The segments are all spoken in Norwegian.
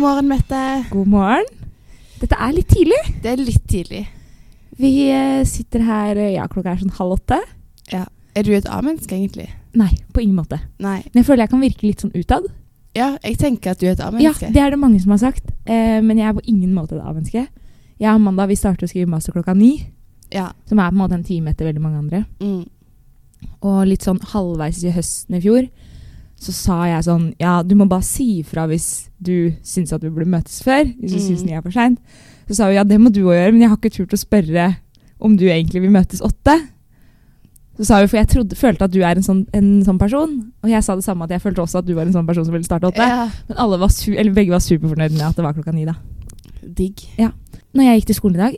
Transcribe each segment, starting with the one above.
morgen, Mette. God morgen. Dette er litt tidlig. Det er litt tidlig. Vi eh, sitter her eh, Ja, klokka er sånn halv åtte. Er du et A-menneske, egentlig? Nei, på ingen måte. Nei. Men jeg føler jeg kan virke litt sånn utad. Ja, jeg tenker at du er et Ja, A-menneske. Det er det mange som har sagt, eh, men jeg er på ingen måte et A-menneske. Jeg og Amanda vi starter å skrive master klokka ni, Ja. som er på en måte en time etter veldig mange andre. Mm. Og litt sånn halvveis i høsten i fjor så sa jeg sånn Ja, du må bare si ifra hvis du syns at vi burde møtes før. Hvis du Mm. syns ni er for seint. Så sa hun ja, det må du òg gjøre, men jeg har ikke turt å spørre om du egentlig vil møtes åtte. Så sa hun, for jeg trodde, følte at du er en sånn, en sånn person. Og jeg sa det samme, at jeg følte også at du var en sånn person som ville starte åtte. ja. Men alle var su eller begge var superfornøyde med at det var klokka ni, da. Digg. Når jeg gikk til skolen i dag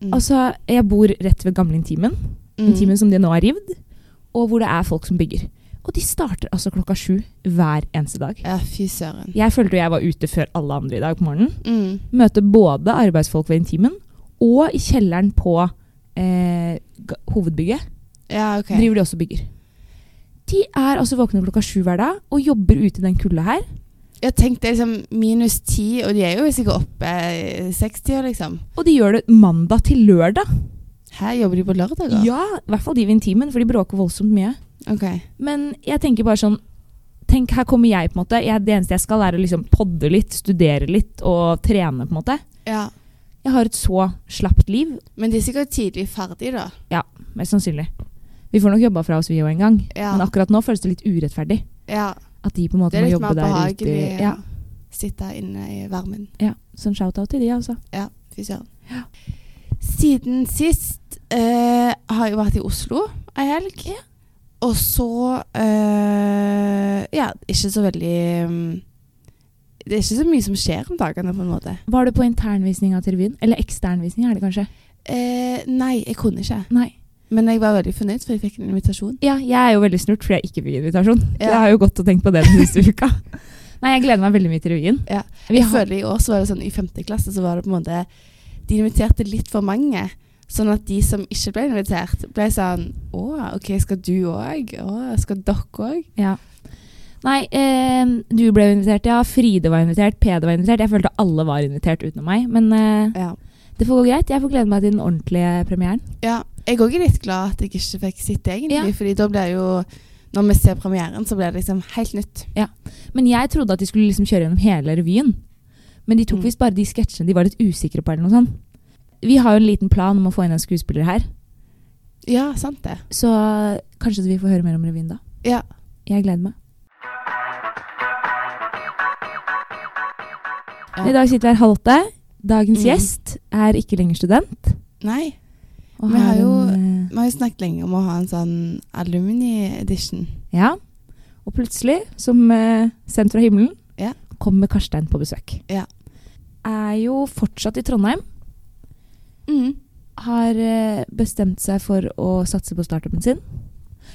Mm. Altså, jeg bor rett ved gamle Intimen Mm. intimen som de nå har rivd, og hvor det er folk som bygger. Og de starter altså klokka sju hver eneste dag. Ja, fy søren. Jeg følte jo jeg var ute før alle andre i dag på morgenen. Mm. Møter både arbeidsfolk ved intimen og i kjelleren på eh, ga- hovedbygget. Ja, ok. Driver de også og bygger. De er altså våkne klokka sju hver dag og jobber ute i den kulda her. Jeg tenkte liksom minus ti, og de er jo sikkert oppe i 60 liksom. Og de gjør det mandag til lørdag. Her jobber de på lørdager? Ja, i hvert fall de ved intimen, for de bråker voldsomt mye. Ok. Men jeg tenker bare sånn Tenk, her kommer jeg, på en måte. Jeg, det eneste jeg skal, er å liksom podde litt, studere litt og trene, på en måte. Ja. Jeg har et så slapt liv, Men de er sikkert tidlig ferdig, da. mest sannsynlig. Vi får nok jobba fra oss, vi òg, en gang. Ja. Men akkurat nå føles det litt urettferdig. ja. At de på en Det måte er må litt jobbe mer der ute. behagelig å Ja, sitte inne i varmen. ja. Så en shout-out til de, altså. Ja, fy søren. Siden sist eh, har jeg vært i Oslo ei helg. Og så eh, Ja, ikke så veldig mm, Det er ikke så mye som skjer om dagene, på en måte. Var det på internvisninga til revyen? Eller eksternvisninga, er det kanskje? Eh, nei, jeg kunne ikke. Nei. Men jeg var veldig fornøyd, for jeg fikk en invitasjon. Ja, jeg er jo veldig snurt fordi jeg ikke fikk invitasjon. Ja. Jeg har jo gått og tenkt på det den siste uka. Nei, jeg gleder meg veldig mye til revyen. Ja. Vi Jeg har, føler i år så var det sånn I femte klasse så var det på en måte De inviterte litt for mange. Sånn at de som ikke ble invitert, ble sånn Å, OK, skal du òg? Å, skal dere òg? Ja. Nei, eh, du ble invitert, ja. Fride var invitert, Peder var invitert. Jeg følte alle var invitert utenom meg. Men eh, Ja. det får gå greit. Jeg får glede meg til den ordentlige premieren. Ja, jeg òg er litt glad at jeg ikke fikk sitte, egentlig. Ja. Fordi da blir jo Når vi ser premieren, så blir det liksom helt nytt. Men jeg trodde at de skulle liksom kjøre gjennom hele revyen. Men de tok Mm. visst bare de sketsjene de var litt usikre på. eller noe sånt. Vi har jo en liten plan om å få inn en skuespiller her, Ja, sant det. så kanskje vi får høre mer om revyen da. Ja. Jeg gleder meg. Ja. I dag sitter vi her halv åtte. Dagens Mm. gjest er ikke lenger student. Nei, Og Vi har jo- en, eh, vi har jo snakket lenge om å ha en sånn alumni-edition. Ja. Og plutselig, som eh, sendt fra himmelen, Ja. kommer Karstein på besøk. Ja. Er jo fortsatt i Trondheim. Mm. Har eh, bestemt seg for å satse på startupen sin.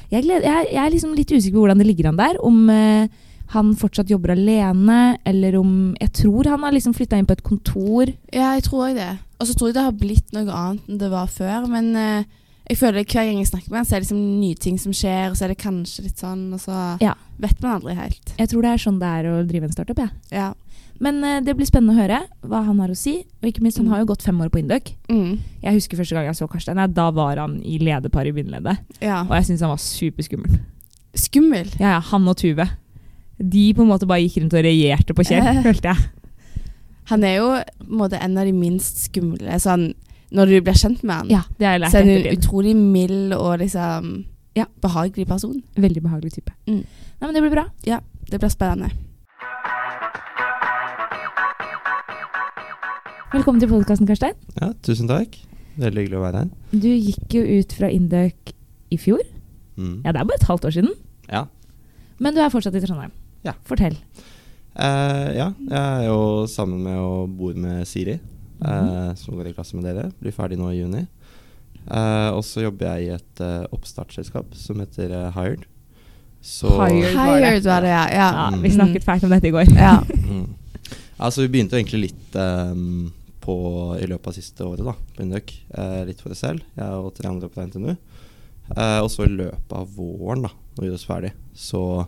Jeg, gleder, jeg, jeg er liksom litt usikker på hvordan det ligger an der. Om eh, han fortsatt jobber alene, eller om Jeg tror han har liksom flytta inn på et kontor. Ja, jeg tror òg det. Og så tror jeg det har blitt noe annet enn det var før. Men eh, jeg føler hver gang jeg snakker med han, så er det liksom nye ting som skjer, og så er det kanskje litt sånn, og så Ja. vet man aldri helt. Jeg tror det er sånn det er å drive en startup. jeg. Ja. Men eh, det blir spennende å høre hva han har å si. Og ikke minst, han Mm. har jo gått fem år på Induc. Mm. Jeg husker første gang jeg så Karstein. Nei, da var han i lederpar i bindeleddet. ja. Og jeg syns han var superskummel. Skummel. Ja, ja, han og Tuve. De på en måte bare gikk rundt og regjerte på Kjell, følte jeg. Han er jo på en, måte, en av de minst skumle sånn, når du blir kjent med han. Ja, det har jeg lært Så er hun en ettertid. utrolig mild og liksom Ja. behagelig person. Veldig behagelig type. Mm. Nei, men det blir bra. Det blir spennende. Velkommen til podkasten, Karstein. Ja, tusen takk. Veldig hyggelig å være her. Du gikk jo ut fra Induc i fjor. Mm. Ja, det er bare et halvt år siden. Ja. Men du er fortsatt i Trondheim. Ja. Fortell. Eh, ja, jeg er jo sammen med og bor med Siri, Mhm. eh, som går i klasse med dere. Blir ferdig nå i juni. Eh, og så jobber jeg i et eh, oppstartsselskap som heter eh, Hired. Så, Hired. var det. Hired var det, ja. ja. Ja, Mm. vi snakket fælt om dette i går. Ja. Mm. Altså, vi begynte egentlig litt eh, på, i løpet av siste året da, på Indøk. Eh, litt for oss selv, jeg og tre andre på NTNU. Eh, og så i løpet av våren, da når vi gjorde oss ferdig, så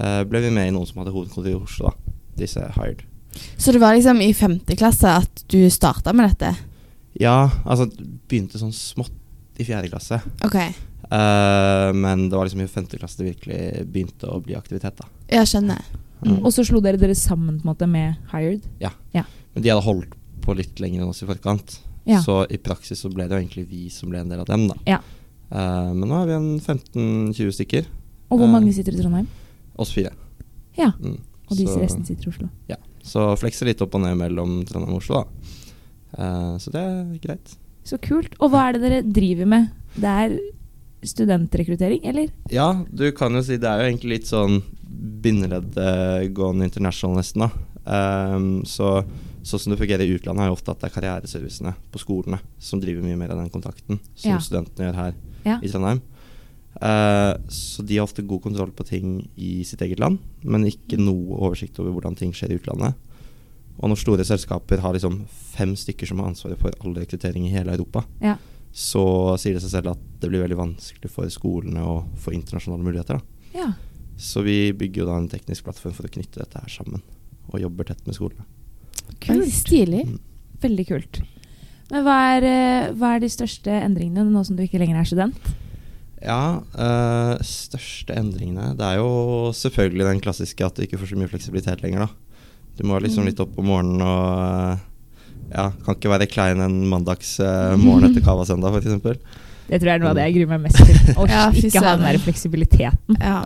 eh, ble vi med i noen som hadde hovedkontor i Oslo. da, Disse Hired. Så det var liksom i femte klasse at du starta med dette? Ja, altså begynte sånn smått i fjerde klasse. Ok. Eh, men det var liksom i femte klasse det virkelig begynte å bli aktivitet. da. Jeg skjønner. Mm. Og så slo dere dere sammen på en måte med Hired. Men de hadde holdt på litt lenger enn oss i forkant. Ja. Så i praksis så ble det jo egentlig vi som ble en del av dem, da. Ja. Eh, men nå er vi en 15-20 stykker, Og hvor Eh. mange sitter i Trondheim? oss fire. Ja. Mm. Og de så, resten sitter i Oslo. Ja. Så flekser litt opp og ned mellom Trondheim og Oslo, da. Eh, så det er greit. Så kult. Og hva er det dere driver med? Det er studentrekruttering, eller? Ja, du kan jo si det er jo egentlig litt sånn bindeledd eh, gone international, nesten, da. Ehm, så sånn som det fungerer i utlandet, er jo ofte at det er karriereservicene på skolene som driver mye mer av den kontakten som Ja. studentene gjør her Ja. i Trondheim. Eh, så de har ofte god kontroll på ting i sitt eget land, men ikke Mm. noe oversikt over hvordan ting skjer i utlandet. Og når store selskaper har liksom fem stykker som har ansvaret for all rekruttering i hele Europa, Ja. så sier det seg selv at det blir veldig vanskelig for skolene å få internasjonale muligheter. Da. Ja. Så vi bygger jo da en teknisk plattform for å knytte dette her sammen, og jobber tett med skolene. Oi, stilig. Mm. Veldig kult. Men hva er, eh, hva er de største endringene nå som du ikke lenger er student? Ja, eh, største endringene Det er jo selvfølgelig den klassiske at du ikke får så mye fleksibilitet lenger, da. Du må liksom litt opp om morgenen og eh, ja, kan ikke være klein en mandags eh, morgen etter Cava-søndag, f.eks. Det tror jeg er noe av det jeg gruer meg mest til. Å Ja, fy ikke ha den søren. der fleksibiliteten. Ja.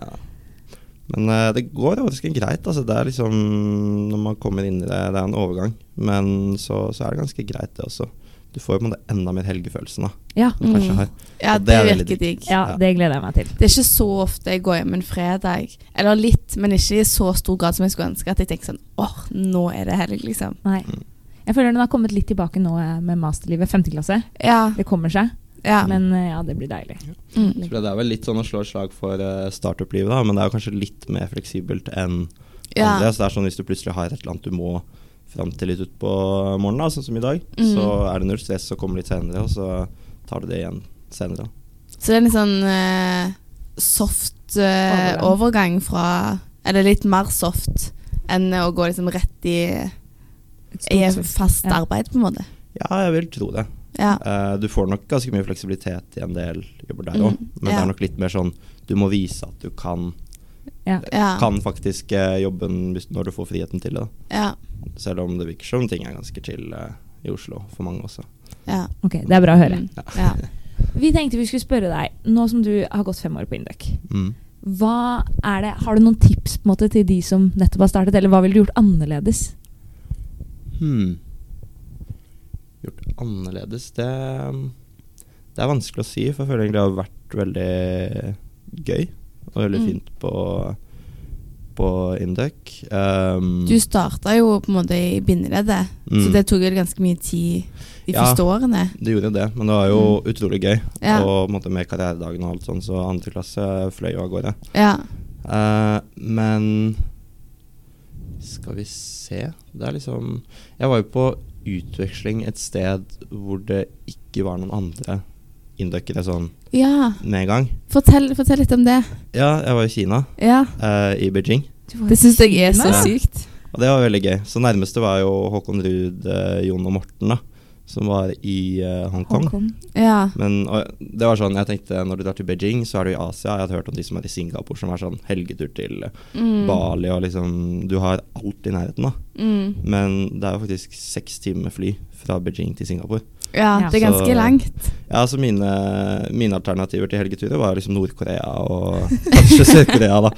Men eh, det går overraskende greit. Altså, det er liksom Når man kommer inn i det, det er en overgang. Men så, så er det ganske greit, det også. Du får jo på en måte enda mer helgefølelsen da, Ja. enn Mm. du kanskje har. ja, Og det det er veldig virker digg. ja, det gleder jeg meg til. Det er ikke så ofte jeg går hjem en fredag. Eller litt, men ikke i så stor grad som jeg skulle ønske. At jeg tenker sånn åh, nå er det helg, liksom. Nei. Mm. Jeg føler den har kommet litt tilbake nå eh, med masterlivet. Femte klasse. Ja. Det kommer seg. ja. Men eh, ja, det blir deilig. Mm. Jeg tror Det er vel litt sånn å slå et slag for eh, startup-livet, da, men det er jo kanskje litt mer fleksibelt enn Ja. andre. Så det er sånn Hvis du plutselig har et eller annet du må fram til litt utpå morgenen, da, sånn som i dag, Mm. så er det null stress og kommer litt senere, og så tar du det igjen senere. Så det er en litt sånn eh, soft eh, overgang fra Eller litt mer soft enn å gå liksom rett i, Et i stort sett. fast Ja. arbeid, på en måte. Ja, jeg vil tro det. Ja. Eh, du får nok ganske mye fleksibilitet i en del jobber der Mm, òg, men det ja. er nok litt mer sånn du må vise at du kan, Ja. kan faktisk eh, jobben hvis- når du får friheten til det. ja. Da. Selv om det virker som ting er ganske chill eh, i Oslo for mange også. ja. Ok, det er bra å høre. Mm. Ja. Vi tenkte vi skulle spørre deg, nå som du har gått fem år på Induc. Mm. Hva er det, har du noen tips på en måte, til de som nettopp har startet, eller hva ville du gjort annerledes? Hmm. Gjort annerledes det, det er vanskelig å si, for jeg føler egentlig det har vært veldig gøy og veldig Mm. fint på, på Induc. Um, Du starta jo på en måte i bindeleddet, så Mm. det tok jo ganske mye tid de Ja. første årene. det gjorde det, men det var jo utrolig gøy. Ja. Og på en måte, med karrieredagen og alt sånn, så andre klasse fløy jo av gårde. Ja. Eh, men skal vi se Det er liksom Jeg var jo på utveksling et sted hvor det ikke var noen andre induckere sånn ja. med en gang. Fortell, fortell litt om det. Ja, jeg var i Kina, Ja. eh, i Beijing, Det syns jeg er så Ja. sykt. og det var veldig gøy. Så nærmeste var jo Håkon Ruud, eh, Jon og Morten, da, som var i eh, Hongkong. Hongkong. Ja. Men og, det var sånn, jeg tenkte når du drar til Beijing, så er du i Asia. Jeg hadde hørt om de som er i Singapore, som er sånn helgetur til Mm. Bali og liksom Du har alt i nærheten, da. Mm. Men det er jo faktisk seks timer fly fra Beijing til Singapore. Ja, Ja. det er ganske Så- langt. Ja, altså mine, mine alternativer til helgeturer var liksom Nord-Korea og kanskje Sør-Korea, da.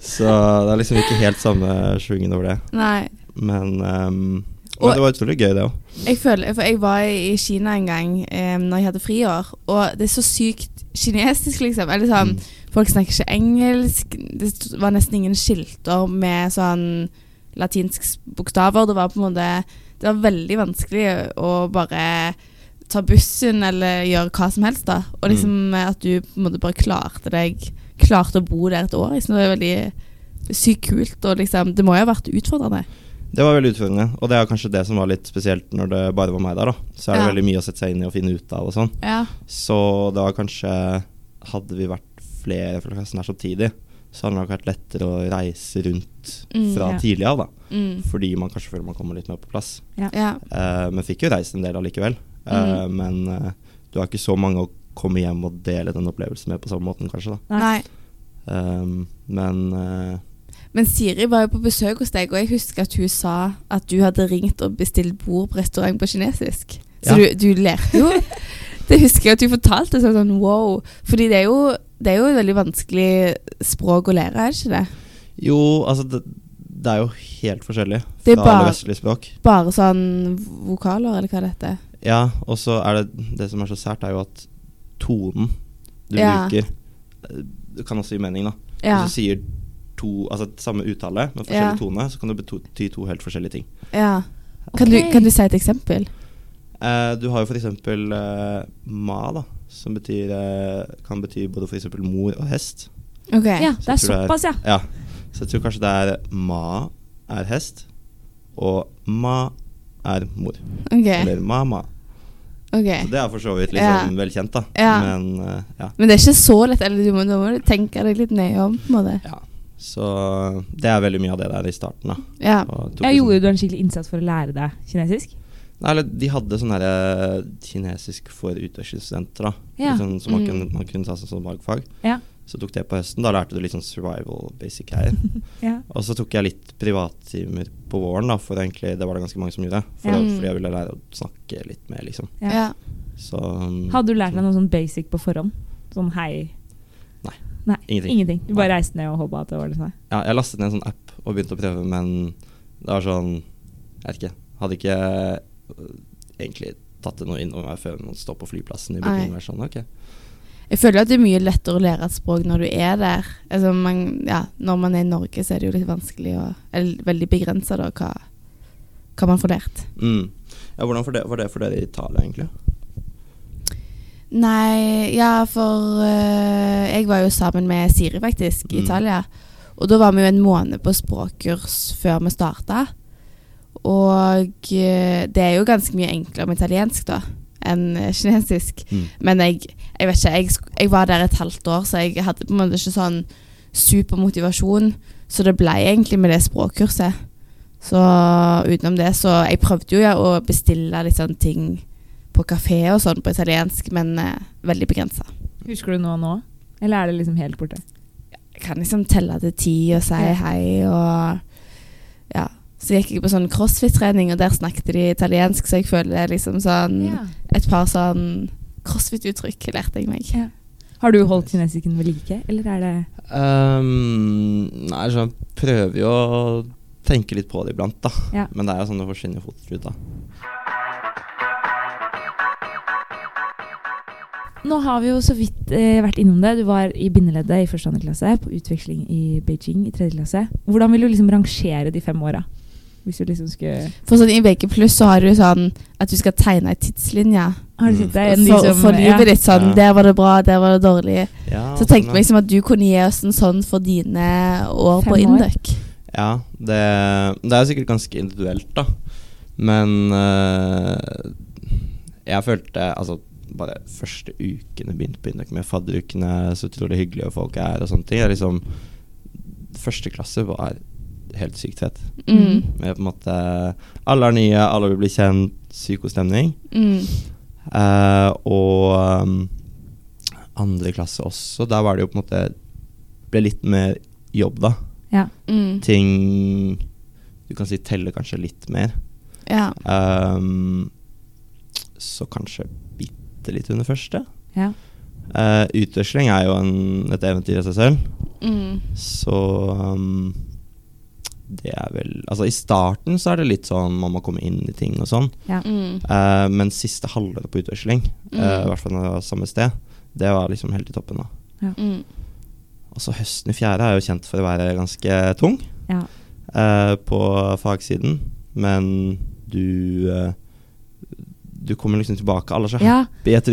Så det er liksom ikke helt samme svingen over det. Nei. Men, ehm, Og- men det var utrolig gøy, det òg. Jeg føler, for jeg var i Kina en gang eh, når jeg hadde friår, og det er så sykt kinesisk, liksom. Eller Mm. sånn, Folk snakker ikke engelsk. Det st- var nesten ingen skilter med sånn latinske s- bokstaver. Det var på en måte Det var veldig vanskelig å bare ta bussen eller gjøre hva som helst, da. Og liksom eh, at du på en måte bare klarte deg Klarte å bo der et år. Jeg synes det var veldig sykt kult, og liksom Det må jo ha vært utfordrende. Det var veldig utfordrende, og det er kanskje det som var litt spesielt når det bare var meg der, da. Så er det Ja. veldig mye å sette seg inn i og finne ut av og sånn. Ja. Så det var kanskje Hadde vi vært flere fra klassen her samtidig, så har det nok vært lettere å reise rundt Mm, fra ja. tidlig av, da. Mm. Fordi man kanskje føler man kommer litt mer på plass. Ja. Eh, men fikk jo reist en del allikevel. Eh, Mm. Men eh, du har ikke så mange å komme hjem og dele den opplevelsen med på samme måten, kanskje. da. Nei. Nei. Um, men eh, Men Siri var jo på besøk hos deg, og jeg husker at hun sa at du hadde ringt og bestilt bord på restaurant på kinesisk. Så Ja. du, du lærte jo. det husker jeg at du fortalte. Så jeg sånn wow. Fordi det er jo, det er jo et veldig vanskelig språk å lære, er det ikke det? jo, altså det, det er jo helt forskjellig Det er fra bare- alle vestlige språk. Bare sånn vokaler, eller hva det heter. Ja, og så er det det som er så sært, er jo at tonen du Ja. bruker, eh, det kan også gi mening, da. Ja. Hvis du sier to, altså samme uttale, Ja. men forskjellig tone, så kan det bety to helt forskjellige ting. ja. Kan, du, Ok. kan du si et eksempel? Eh, du har jo f.eks. Uh, ma, da, som betyr, eh, kan bety både for eksempel mor og hest. Ok. Ja, det er Så tror jeg- såpass, ja. Ja, Så jeg tror kanskje det er ma er hest, og ma er mor. ok, Eller mama. ok. Så det er for så vidt Ja. liksom vel kjent, da. Ja. Men eh, ja. Men det er ikke så lett. Eller du må, da må du tenke deg litt nøye om. på en måte. ja. Så det er veldig mye av det der i starten, da. Ja. Og tok Jeg liksom- gjorde jo du en skikkelig innsats for å lære deg kinesisk. Nei, eller de hadde sånn derre kinesisk for utvekslingsstudenter, da. Ja. Liksom, som man, Mm. kunne, man kunne ta som sånn valgfag. Ja. Så tok det på høsten. Da lærte du litt sånn survival basic her. Ja. Og så tok jeg litt privattimer på våren, da, for egentlig, det var det ganske mange som gjorde. For Ja. Fordi jeg ville lære å snakke litt mer, liksom. Ja. Ja. Så um, Hadde du lært deg noe sånn basic på forhånd? Sånn hei? Nei. Nei, Ingenting. Ingenting. Du bare reiste ned og håpa at det ordnet seg? ja, jeg lastet ned en sånn app og begynte å prøve, men det var sånn Jeg vet ikke. Hadde ikke øh, egentlig tatt det noe inn over meg før man står på flyplassen i Nei. Berlin og er sånn, ok. Jeg føler at det er mye lettere å lære et språk når du er der. Altså, man, ja, når man er i Norge, så er det jo litt vanskelig å Eller veldig begrensa, da, hva, hva man får lært. Mm. Ja, hvordan var det, var det for dere i Italia, egentlig? Nei, ja, for eh, Jeg var jo sammen med Siri, faktisk, i Mm. Italia. Og da var vi jo en måned på språkkurs før vi starta. Og eh, det er jo ganske mye enklere med italiensk, da, enn eh, kinesisk. Men jeg, jeg vet ikke, jeg, sk- jeg var der et halvt år, så jeg hadde på en måte ikke sånn supermotivasjon. Så det ble egentlig med det språkkurset. Så utenom det, så Jeg prøvde jo ja, å bestille litt sånn ting på kafé og sånn på italiensk, men eh, veldig begrensa. Husker du noe nå? Eller er det liksom helt borte? Jeg kan liksom telle til ti og si Ja. hei og Ja. Så gikk jeg på sånn crossfit-trening, og der snakket de italiensk, så jeg føler det er liksom sånn Et par sånn crossfit-uttrykk lærte jeg meg. Har du holdt kinesisken ved like, eller er det Um, nei, så jeg prøver jo å tenke litt på det iblant, da. Ja. Men det er jo sånn det forsvinner fort ut, da. Nå har vi jo så vidt eh, vært innom det. Du var i bindeleddet i første og andre klasse, på utveksling i Beijing i tredje klasse. Hvordan vil du liksom rangere de fem åra? Hvis du liksom skulle For sånn I VG pluss så har du sånn at du skal tegne ei tidslinje Har du Mm. sett det? En de for, som- for livet ditt. Sånn, Ja. Der var det bra, der var det dårlig. Ja, Så tenkte vi liksom at du kunne gi oss en sånn for dine år Fem på år. Induc. Ja, det, det er jo sikkert ganske individuelt, da. Men eh, jeg følte Altså, bare første ukene begynte på Indøk med fadderukene, så utrolig hyggelige folk er og sånne ting. Det er liksom Første klasse var helt sykt fett. Mm. Med på en måte Alle er nye, alle vil bli kjent, psykostemning. Mm. Eh, og um, andre klasse også. Der var det jo på en måte Ble litt mer jobb, da. Ja. Mm. Ting Du kan si teller kanskje litt mer. Ja. Ehm, så kanskje bitte litt under første. ja. Uh, utveksling er jo en, et eventyr i seg selv, Mm. så um, det er vel Altså, i starten så er det litt sånn man må komme inn i ting og sånn. Mm. Eh, men siste halvåret på utveksling, eh, Mm. i hvert fall når det var samme sted, det var liksom helt i toppen. da. Mm. Og så høsten i fjerde er jo kjent for å være ganske tung ja. eh, på fagsiden, men du eh, du kommer liksom tilbake. Alle er så ja. happy etter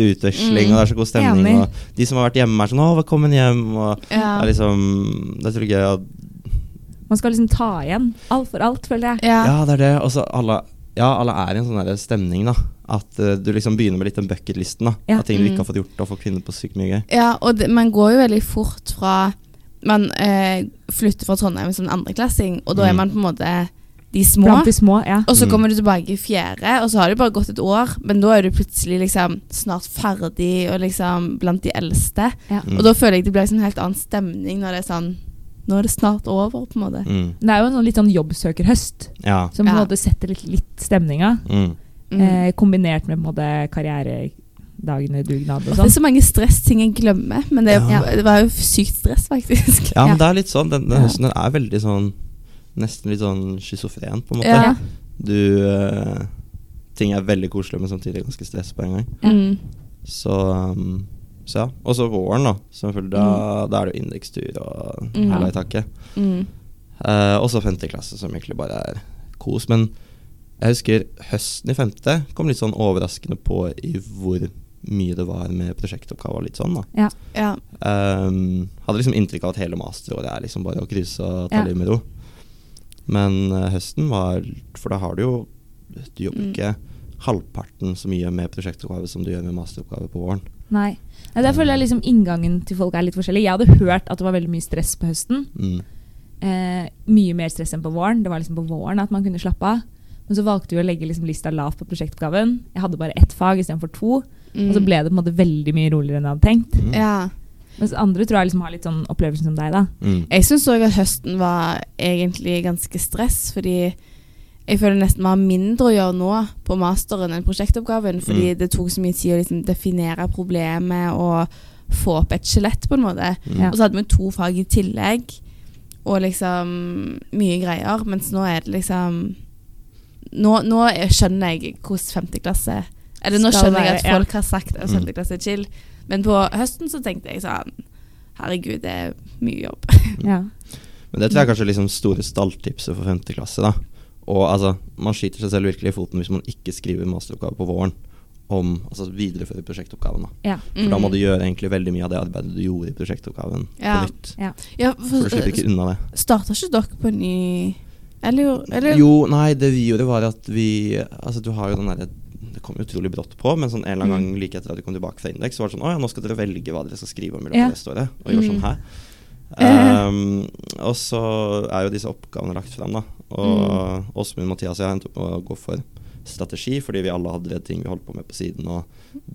Mm. utveksling, og det er så god stemning. Enig. Og de som har vært hjemme, er sånn 'Å, velkommen hjem', og Ja. det er liksom Det er så gøy. Og, Man skal liksom ta igjen alt for alt, føler jeg. Ja. ja. det er det. Og så alle ja, alle er i en sånn der stemning, da. At eh, du liksom begynner med litt den bucketlisten. da Ja. Av ting du Mm. ikke har fått gjort, og får kvinner på sykt mye gøy. ja, og det, man går jo veldig fort fra man eh, flytter fra Trondheim som en andreklassing, og da er Mm. man på en måte de små. Blant de små, ja. Og så Mm. kommer du tilbake i fjerde, og så har det bare gått et år, men da er du plutselig liksom snart ferdig og liksom blant de eldste. Mm. Og da føler jeg det blir liksom en helt annen stemning når det er sånn Nå er det snart over, på en måte. Mm. Det er jo en sånn litt sånn jobbsøkerhøst, Ja. som på en Ja. måte setter litt, litt stemninga. Mm. Mm. Eh, kombinert med på en måte karrieredagene, dugnad og det er sånn. så mange stressting jeg glemmer, men det, Ja. det var jo sykt stress, faktisk. Ja, men Ja. det er litt sånn. Den, den Ja. høsten den er veldig sånn Nesten litt sånn schizofren, på en måte. Ja. Du eh, Ting er veldig koselig, men samtidig ganske stress på en gang. Ja. Mm. Så, um, så ja. Og så våren, da. Selvfølgelig. Da, da er det jo indekstur og Mm. hele taket. Mm. Eh, og så femte klasse, som egentlig bare er kos. Men jeg husker høsten i femte kom litt sånn overraskende på i hvor mye det var med prosjektoppgaver og litt sånn, da. Ja. Ehm, hadde liksom inntrykk av at hele masteråret er liksom bare å krysse og ta Ja. livet med ro. Men eh, høsten var For da har du jo Du jobber Mm. ikke halvparten så mye med prosjektoppgave som du gjør med masteroppgave på våren. Nei. Nei, Der føler jeg liksom inngangen til folk er litt forskjellig. Jeg hadde hørt at det var veldig mye stress på høsten. Mm. Eh, mye mer stress enn på våren. Det var liksom på våren at man kunne slappe av. Men så valgte vi å legge liksom lista lavt på prosjektoppgaven. Jeg hadde bare ett fag istedenfor to. Mm. Og så ble det på en måte veldig mye roligere enn jeg hadde tenkt. Mm. ja. Mens andre tror jeg liksom har litt sånn opplevelsen som deg, da. Mm. Jeg syns òg at høsten var egentlig ganske stress, fordi jeg føler nesten vi har mindre å gjøre nå på masteren enn prosjektoppgaven, fordi det tok så mye tid å liksom definere problemet og få opp et skjelett, på en måte. Mm. Ja. Og så hadde vi to fag i tillegg, og liksom mye greier, mens nå er det liksom Nå, nå er- skjønner jeg hvordan femte klasse Eller nå Skal skjønner jeg være, at ja. folk har sagt at Mm. femte klasse er chill, men på høsten så tenkte jeg sånn Herregud, det er mye jobb. Ja. Men det tror jeg er kanskje liksom store stalltipset for femte klasse. da Og altså, Man skyter seg selv virkelig i foten hvis man ikke skriver masteroppgave på våren om altså viderefører prosjektoppgaven. da Ja. For da må du gjøre egentlig veldig mye av det arbeidet du gjorde i prosjektoppgaven Mm. Ja. på nytt. Ja, For du for, slipper ikke unna det. starter ikke dere på ny Eller jo, eller, Jo, nei, det vi gjorde var at vi Altså, du har jo den derre Det kom utrolig brått på, men sånn en eller annen Mm. gang like etter at du kom tilbake fra Indeks, så var det sånn Å ja, nå skal dere velge hva dere skal skrive om i løpet Ja. av neste året. Og gjøre Mm. Eh. sånn her. Ehm, og så er jo disse oppgavene lagt fram, da. Og Mm. Åsmund, Mathias og jeg endte opp med å gå for strategi, fordi vi alle hadde ting vi holdt på med på siden. Og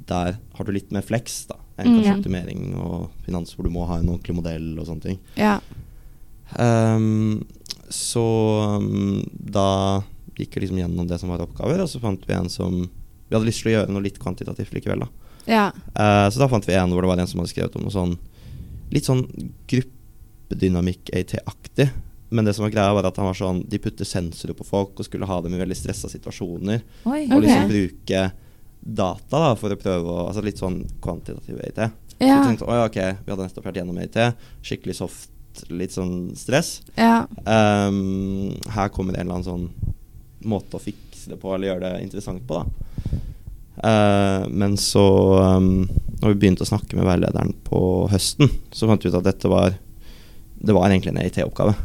der har du litt mer flex da enn Mm. kanskje Ja. optimering og finans, hvor du må ha en ordentlig modell og sånne ting. Ja. Ehm, så um, da gikk vi liksom gjennom det som var oppgaver, og så fant vi en som Vi hadde lyst til å gjøre noe litt kvantitativt likevel, da. Ja. Eh, så da fant vi en hvor det var en som hadde skrevet om noe sånn litt sånn gruppedynamikk-AT-aktig. Men det som var greia var at han var sånn de putter sensorer på folk og skulle ha dem i veldig stressa situasjoner. Oi. Og Ok. liksom bruke data da for å prøve å Altså litt sånn kvantitativ AT. Så vi Ja. tenkte å ja, ok, vi hadde nettopp vært gjennom AT. Skikkelig soft, litt sånn stress. Ja. Ehm, her kommer en eller annen sånn måte å fikse det på, eller gjøre det interessant på, da. Eh, men så, um, når vi begynte å snakke med veilederen på høsten, så fant vi ut at dette var Det var egentlig en EIT-oppgave.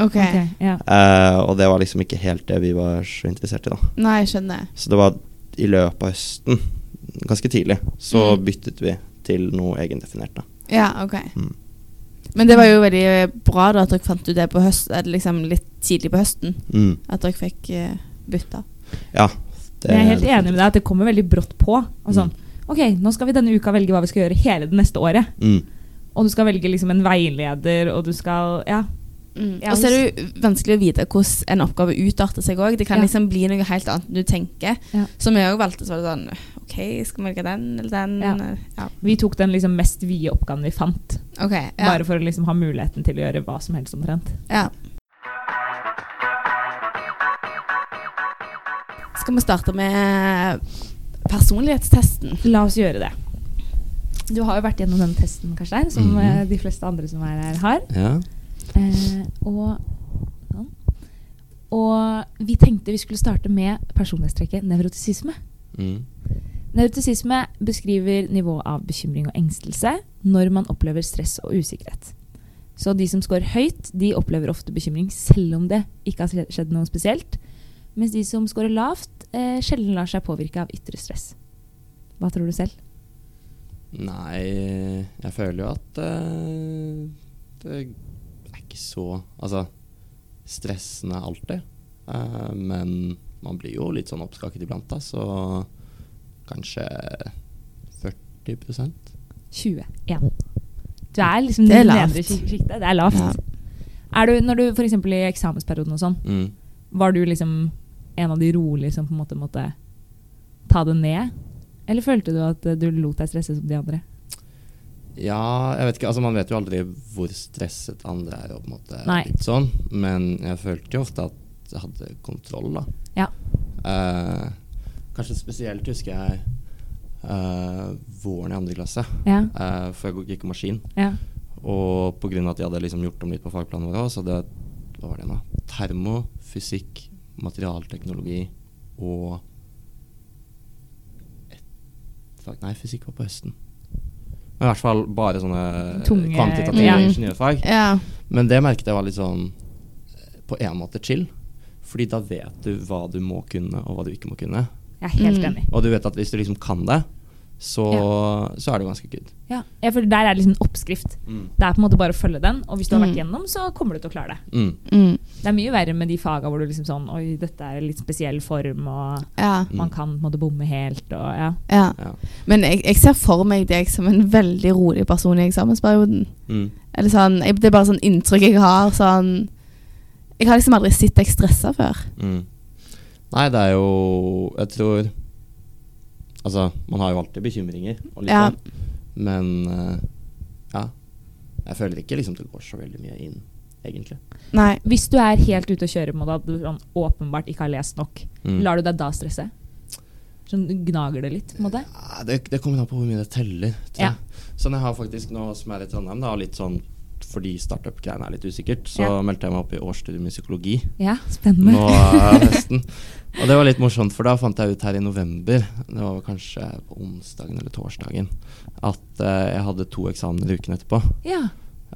OK. Ok, Ja. Eh, og det var liksom ikke helt det vi var så interessert i, da. Nei, jeg skjønner. Så det var i løpet av høsten, ganske tidlig, så Mm. byttet vi til noe egendefinert, da. Ja, OK. Mm. Men det var jo veldig eh, bra da at dere fant ut det på høst, eller liksom litt tidlig på høsten. Mm. At dere fikk eh, bytta. Ja. det- Men jeg er helt enig med deg at det kommer veldig brått på. Og sånn, ok, nå skal vi denne uka velge hva vi skal gjøre hele det neste året. Mm. Og du skal velge liksom en veileder, og du skal Ja. Mm. Ja, Og så er det jo vanskelig å vite hvordan en oppgave utarter seg òg. Det kan Ja. liksom bli noe helt annet enn du tenker. Ja. Som jeg òg valgte, så var det sånn OK, skal vi velge den eller den? Ja. eller- ja. Vi tok den liksom mest vide oppgaven vi fant. OK. Ja. Bare for å liksom ha muligheten til å gjøre hva som helst omtrent. Ja. Skal vi starte med personlighetstesten? La oss gjøre det. Du har jo vært gjennom den testen, Karstein, som Mhm. eh, de fleste andre som er her, har. Ja. Eh, og sånn. Og vi tenkte vi skulle starte med personlighetstrekket nevrotisisme. Mm. Neurotisisme beskriver nivå av bekymring og engstelse når man opplever stress og usikkerhet. Så de som scorer høyt, de opplever ofte bekymring selv om det ikke har skjedd noe spesielt. Mens de som scorer lavt, eh, sjelden lar seg påvirke av ytre stress. Hva tror du selv? Nei, jeg føler jo at eh, det ikke så Altså stressende alltid. Eh, men man blir jo litt sånn oppskaket iblant, da, så kanskje 40 21. Du er liksom Det er i lavt. nedre sjik- sjiktet. Det er lavt. Ja. Er du, når du for eksempel i eksamensperioden og sånn, mm. var du liksom en av de rolige som på en måte måtte ta det ned? Eller følte du at eh, du lot deg stresse som de andre? Ja, jeg vet ikke. Altså, man vet jo aldri hvor stresset andre er. Og på en måte Nei. litt sånn. Men jeg følte jo ofte at jeg hadde kontroll, da. Ja. Eh, kanskje spesielt husker jeg eh, våren i andre klasse. Ja. Eh, for jeg gikk maskin. Ja. Og pga. at de hadde liksom gjort om litt på fagplanen vår også, så det hva var det nå? Termo, fysikk, materialteknologi og et fag Nei, fysikk var på høsten. Men i hvert fall bare sånne eh, Tunge- kvantitative Ja. ingeniørfag. Ja. Men det merket jeg var litt sånn eh, på en måte chill. Fordi da vet du hva du må kunne, og hva du ikke må kunne. Jeg er helt Mm. enig. Og du vet at hvis du liksom kan det, så, så er det jo ganske good. Ja. Ja, for der er det liksom en oppskrift. Mm. Det er på en måte bare å følge den, og hvis du har vært Mm. gjennom, så kommer du til å klare det. Mm. Mm. Det er mye verre med de faga hvor du liksom sånn Oi, dette er en litt spesiell form, og ja. man kan på en måte bomme helt, og ja. ja. Ja. Men jeg, jeg ser for meg deg som en veldig rolig person i eksamensperioden. Mm. Eller sånn, jeg, Det er bare sånn inntrykk jeg har. sånn... Jeg har liksom aldri sett deg stressa før. Mm. Nei, det er jo Jeg tror Altså, man har jo alltid bekymringer og litt Ja. sånn, men eh, ja. Jeg føler ikke liksom det går så veldig mye inn, egentlig. Nei. Hvis du er helt ute å kjøre på en måte, at du sånn, åpenbart ikke har lest nok, Mm. lar du deg da stresse? Sånn gnager det litt, på en måte? Ja, det, det kommer an på hvor mye det teller. Tror Ja. jeg. Sånn jeg har faktisk nå som er i Trondheim, da, og litt sånn fordi startup-greiene er litt usikkert, så Ja. meldte jeg meg opp i årsstudium i psykologi. Ja, spennende. nå eh, nesten. Og det var litt morsomt, for da fant jeg ut her i november, det var vel kanskje på onsdagen eller torsdagen, at eh, jeg hadde to eksamener i uken etterpå. Ja,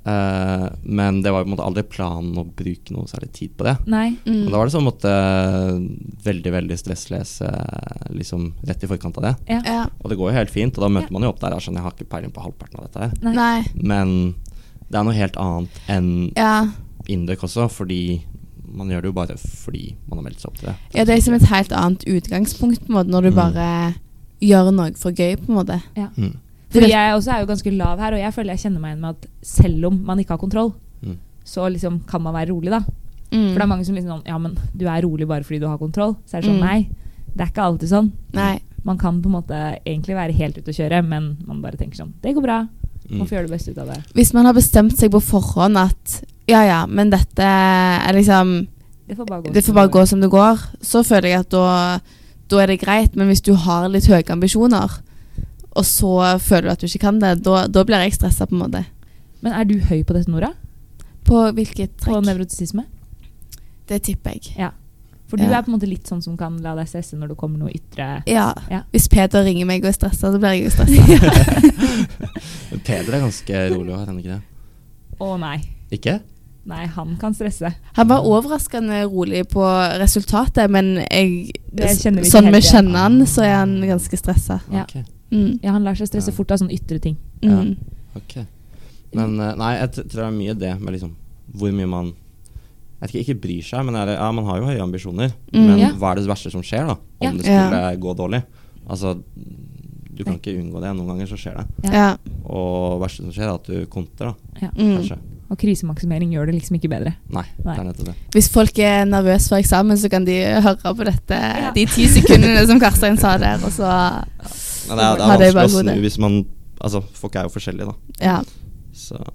Eh, men det var på en måte aldri planen å bruke noe særlig tid på det. nei. Mm. Men da var det sånn å måtte eh, veldig, veldig stresslese liksom rett i forkant av det. Ja. Og det går jo helt fint, og da møter Ja. man jo opp der og er sånn Jeg har ikke peiling på halvparten av dette her. Nei. Nei. Men det er noe helt annet enn Ja. Indøk også, fordi man gjør det jo bare fordi man har meldt seg opp til det. ja. Det er liksom et helt annet utgangspunkt på en måte, når du Mm. bare gjør noe for gøy, på en måte. Mm. Fordi jeg også er jo ganske lav her, og jeg føler jeg kjenner meg igjen med at selv om man ikke har kontroll, Mm. så liksom kan man være rolig, da. Mm. For det er mange som liksom sånn Ja, men du er rolig bare fordi du har kontroll. Så er det sånn, Mm. nei. Det er ikke alltid sånn. Nei. Man kan på en måte egentlig være helt ute å kjøre, men man bare tenker sånn Det går bra. Mm. Man får gjøre det beste ut av det. Hvis man har bestemt seg på forhånd at ja, ja, men dette er liksom Det får bare gå. Det får bare gå som det går. Så føler jeg at da, da er det greit, men hvis du har litt høye ambisjoner, og så føler du at du ikke kan det, da, da blir jeg stressa på en måte. Men er du høy på dette, Nora? På hvilket På trekk? nevrotisisme? Det tipper jeg. For du Ja. er på en måte litt sånn som kan la deg stresse når det kommer noe ytre Ja. Ja. Hvis Peder ringer meg og er stressa, så blir jeg jo stressa. Men Peder er ganske rolig, er han ikke det? Å nei. Ikke? Nei, han kan stresse. Han var overraskende rolig på resultatet, men jeg, Det kjenner vi ikke sånn vi helt igjen. kjenner han, så er han ganske stressa. Ja. Ok, Mm. Ja, han lar seg stresse Ja. fort av sånne ytre ting. Ja. Mm. ok. Men eh, nei, jeg t- tror det er mye det med liksom hvor mye man jeg vet ikke, ikke bryr seg, men er det, ja, man har jo høye ambisjoner. Mm. men Ja. hva er det verste som skjer, da? Om Ja. det skulle Ja. gå dårlig. Altså, du kan ikke unngå det. Noen ganger så skjer det. Ja. Ja. Og det verste som skjer, er at du konter, da. Mm. Kanskje. Og krisemaksimering gjør det liksom ikke bedre. Nei, Nei. det er nettopp det. Hvis folk er nervøse for eksamen, så kan de høre på dette, Ja. de ti sekundene som Karstein sa der, og så Men det er, Ha det det i er vanskelig å bakhodet. snu hvis man Altså, folk er jo forskjellige, da. Ja. Så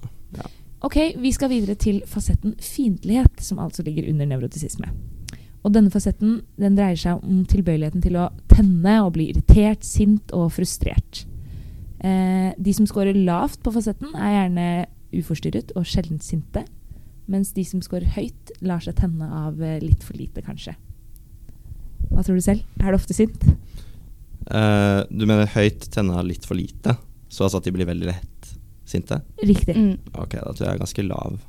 Ok, vi skal videre til fasetten fiendtlighet, som altså ligger under nevrotisisme. Og denne fasetten den dreier seg om tilbøyeligheten til å tenne og bli irritert, sint og frustrert. Eh, de som scorer lavt på fasetten, er gjerne uforstyrret og sjelden sinte. Mens de som scorer høyt, lar seg tenne av eh, litt for lite, kanskje. Hva tror du selv? Er du ofte sint? Eh, du mener høyt tenna litt for lite? Så altså at de blir veldig lett sinte? Riktig. Mm. Ok, da tror jeg jeg er ganske lav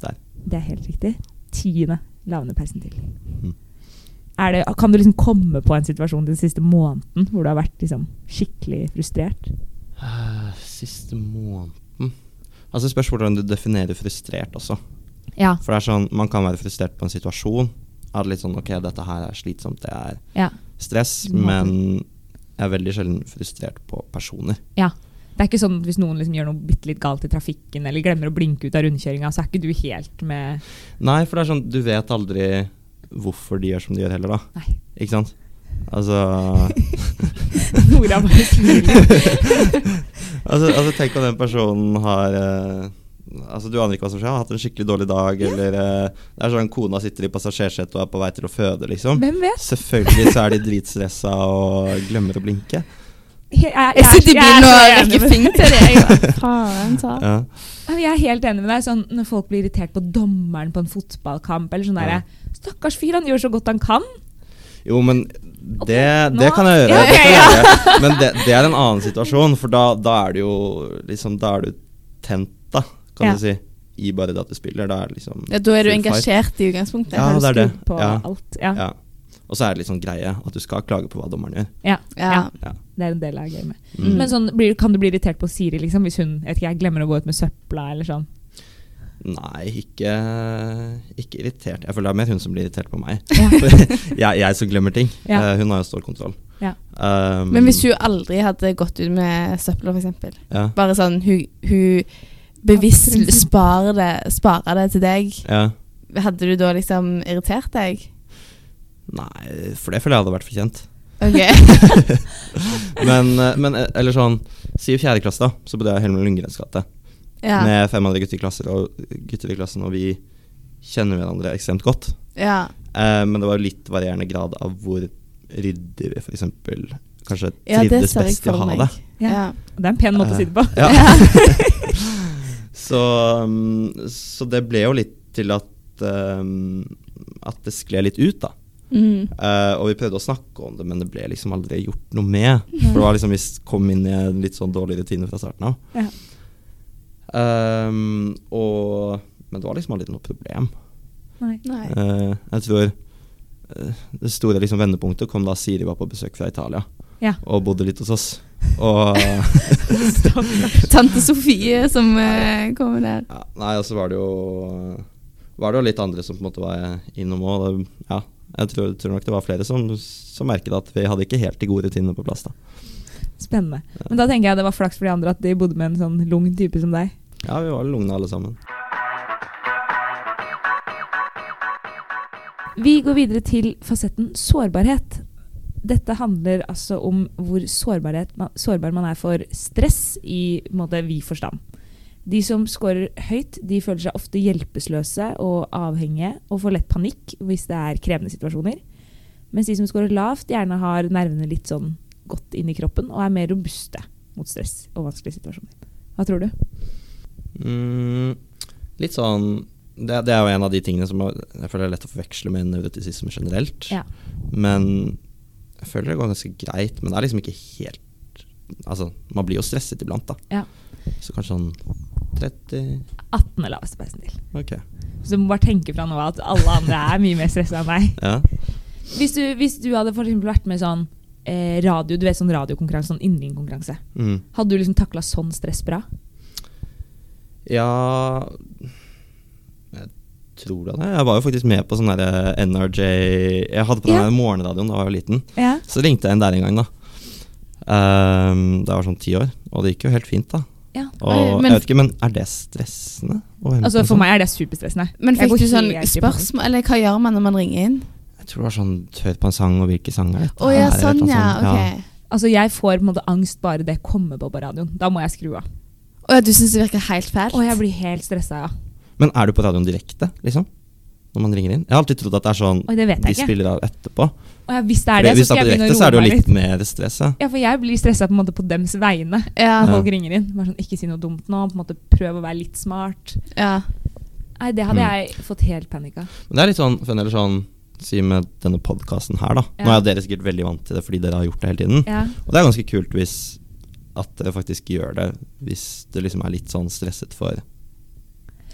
der. Det er helt riktig. Tiende lavner persen til. Mm. Er det, kan du liksom komme på en situasjon den siste måneden hvor du har vært liksom skikkelig frustrert? Eh, Siste måneden Altså Det spørs hvordan du definerer frustrert også. Ja. For det er sånn, man kan være frustrert på en situasjon. Er det litt sånn, ok, dette her er slitsomt, det er Ja. stress, Du må ha men jeg er veldig sjelden frustrert på personer. Det er ikke sånn at hvis noen liksom gjør noe bitte litt galt i trafikken eller glemmer å blinke ut av rundkjøringa, så er ikke du helt med Nei, for det er sånn, du vet aldri hvorfor de gjør som de gjør heller, da. Nei. Ikke sant? Altså Nora bare smiler. altså, altså, tenk om den personen har eh, Altså, Du aner ikke hva som skjer. Har hatt en skikkelig dårlig dag, eller eh, det er sånn kona sitter i passasjersetet og er på vei til å føde, liksom. Hvem vet? Selvfølgelig så er de dritstressa og glemmer å blinke. Jeg, jeg, Jeg sitter i bilen og så enig rekker med- fingeren til deg. Faen, sa Ja. Jeg er helt enig med deg. Sånn, når folk blir irritert på dommeren på en fotballkamp eller sånn derre Stakkars fyr, han gjør så godt han kan. Jo, men det, nå- det kan jeg gjøre. Ja, Det kan ja, jeg gjøre. Men det, det er en annen situasjon, for da, da er du jo liksom, Da er du tent, da, kan Ja. du si. I bare det at du spiller. Da er det liksom Ja, da er du full fight. engasjert i utgangspunktet. Ja, det er det. Skrudd På Ja. alt. Ja. Ja. Og så er det litt sånn greie at du skal klage på hva dommeren gjør. Ja. Ja. Det er en del av gamet. Mm. Men sånn, blir, kan du bli irritert på Siri liksom, hvis hun jeg vet ikke, jeg glemmer å gå ut med søpla eller sånn? Nei, ikke, ikke irritert. Jeg føler det er mer hun som blir irritert på meg. Ja. jeg, jeg som glemmer ting. Ja. Eh, hun har jo stålkontroll. Ja. Um, Men hvis hun aldri hadde gått ut med søpla, f.eks. ja, Bare sånn hun, hun bevisst sparer det, sparer det til deg, ja. hadde du da liksom irritert deg? Nei, for det føler jeg hadde vært fortjent. Ok. Men, eh, men eh, eller sånn Si i fjerde klasse, da. Så bodde jeg i Helmer Lundgrens gate Ja. med fem andre gutter i, klasser, og, gutter i klassen, og vi kjenner hverandre ekstremt godt. ja. Eh, men det var jo litt varierende grad av hvor ryddig vi f.eks. kanskje ja, det trivdes ser jeg best i å for ha meg. det. Ja. Det er en pen måte å si det på. Eh, Ja. så, um, så det ble jo litt til at um, At det skled litt ut, da. Mm. Eh, og vi prøvde å snakke om det, men det ble liksom aldri gjort noe med. For det var liksom vi s- kom inn i en litt sånn dårlig rutine fra starten av. Ja. Um, og Men det var liksom aldri noe problem. Nei. Nei. Eh, jeg tror eh, det store liksom vendepunktet kom da Siri var på besøk fra Italia Ja. og bodde litt hos oss. Og Tante Sofie som eh, kommer der. Ja, nei, og så var det jo Var det jo litt andre som på en måte var innom òg. Ja, jeg tror, tror nok det var flere som, som merket at vi hadde ikke helt de gode rutinene på plass. da Spennende. Men da tenker jeg det var flaks for de andre at de bodde med en sånn lung type som deg. Ja, vi var lugne alle sammen. Vi går videre til fasetten sårbarhet. Dette handler altså om hvor sårbarhet, man- sårbar man er for stress i på en måte, vid forstand. De som scorer høyt, de føler seg ofte hjelpeløse og avhengige og får lett panikk hvis det er krevende situasjoner. Mens de som scorer lavt, gjerne har nervene litt sånn godt inn i kroppen og er mer robuste mot stress og vanskelige situasjoner. Hva tror du? Mm, litt sånn det, det er jo en av de tingene som er- jeg føler er lett å forveksle med nevrotisisme generelt. Ja. Men jeg føler det går ganske greit. Men det er liksom ikke helt Altså, man blir jo stresset iblant, da. Ja. Så kanskje sånn 30 18 er laveste persentil. Ok. Så du må bare tenke fra nå av at alle andre er mye mer stressa enn deg. Ja. Hvis du, hvis du hadde for eksempel vært med i sånn eh, radio, du vet sånn radiokonkurranse, sånn yndlingkonkurranse, Mm. hadde du liksom takla sånn stress bra? Ja Jeg tror da det. Jeg var jo faktisk med på sånn derre NRJ Jeg hadde på den Ja. der morgenradioen da jeg var liten. Ja. Så ringte jeg en der en gang, da. Ehm, da jeg var sånn ti år. Og det gikk jo helt fint, da. Og, Oi, men- jeg vet ikke, men er det stressende? å hente Altså en For sånn? meg er det superstressende. Men Jeg fikk går du sånn helt i panikk. spørsmål Eller hva gjør man når man ringer inn? Jeg tror det var sånn hør på en sang, og hvilke sanger dette Å ja, er, eller sånn, noe ja. sånt. Ok. Altså Jeg får på en måte angst bare det kommer på på radioen. Da må jeg skru av. Å ja, du syns det virker helt fælt? Og jeg blir helt stressa, ja. Men er du på radioen direkte, liksom? Når man ringer inn? Jeg har alltid trodd at det er sånn Oi, det vet de jeg ikke. spiller av etterpå. Og jeg, hvis det er det, Hvis så skal er jeg på begynne direkte, å så roe er det meg jo litt. litt mer stress, ja. Ja, for jeg blir stressa på en måte på dems vegne Ja. når folk ringer inn. Bare sånn, Ikke si noe dumt nå. På en måte Prøv å være litt smart. ja. Nei, Det Mm. hadde jeg fått helt panikk av. Men det er litt sånn, for en del sånn Si med denne podkasten her, da. Nå Ja. er dere sikkert veldig vant til det fordi dere har gjort det hele tiden. Ja. Og det er ganske kult hvis at dere faktisk gjør det hvis det liksom er litt sånn stresset for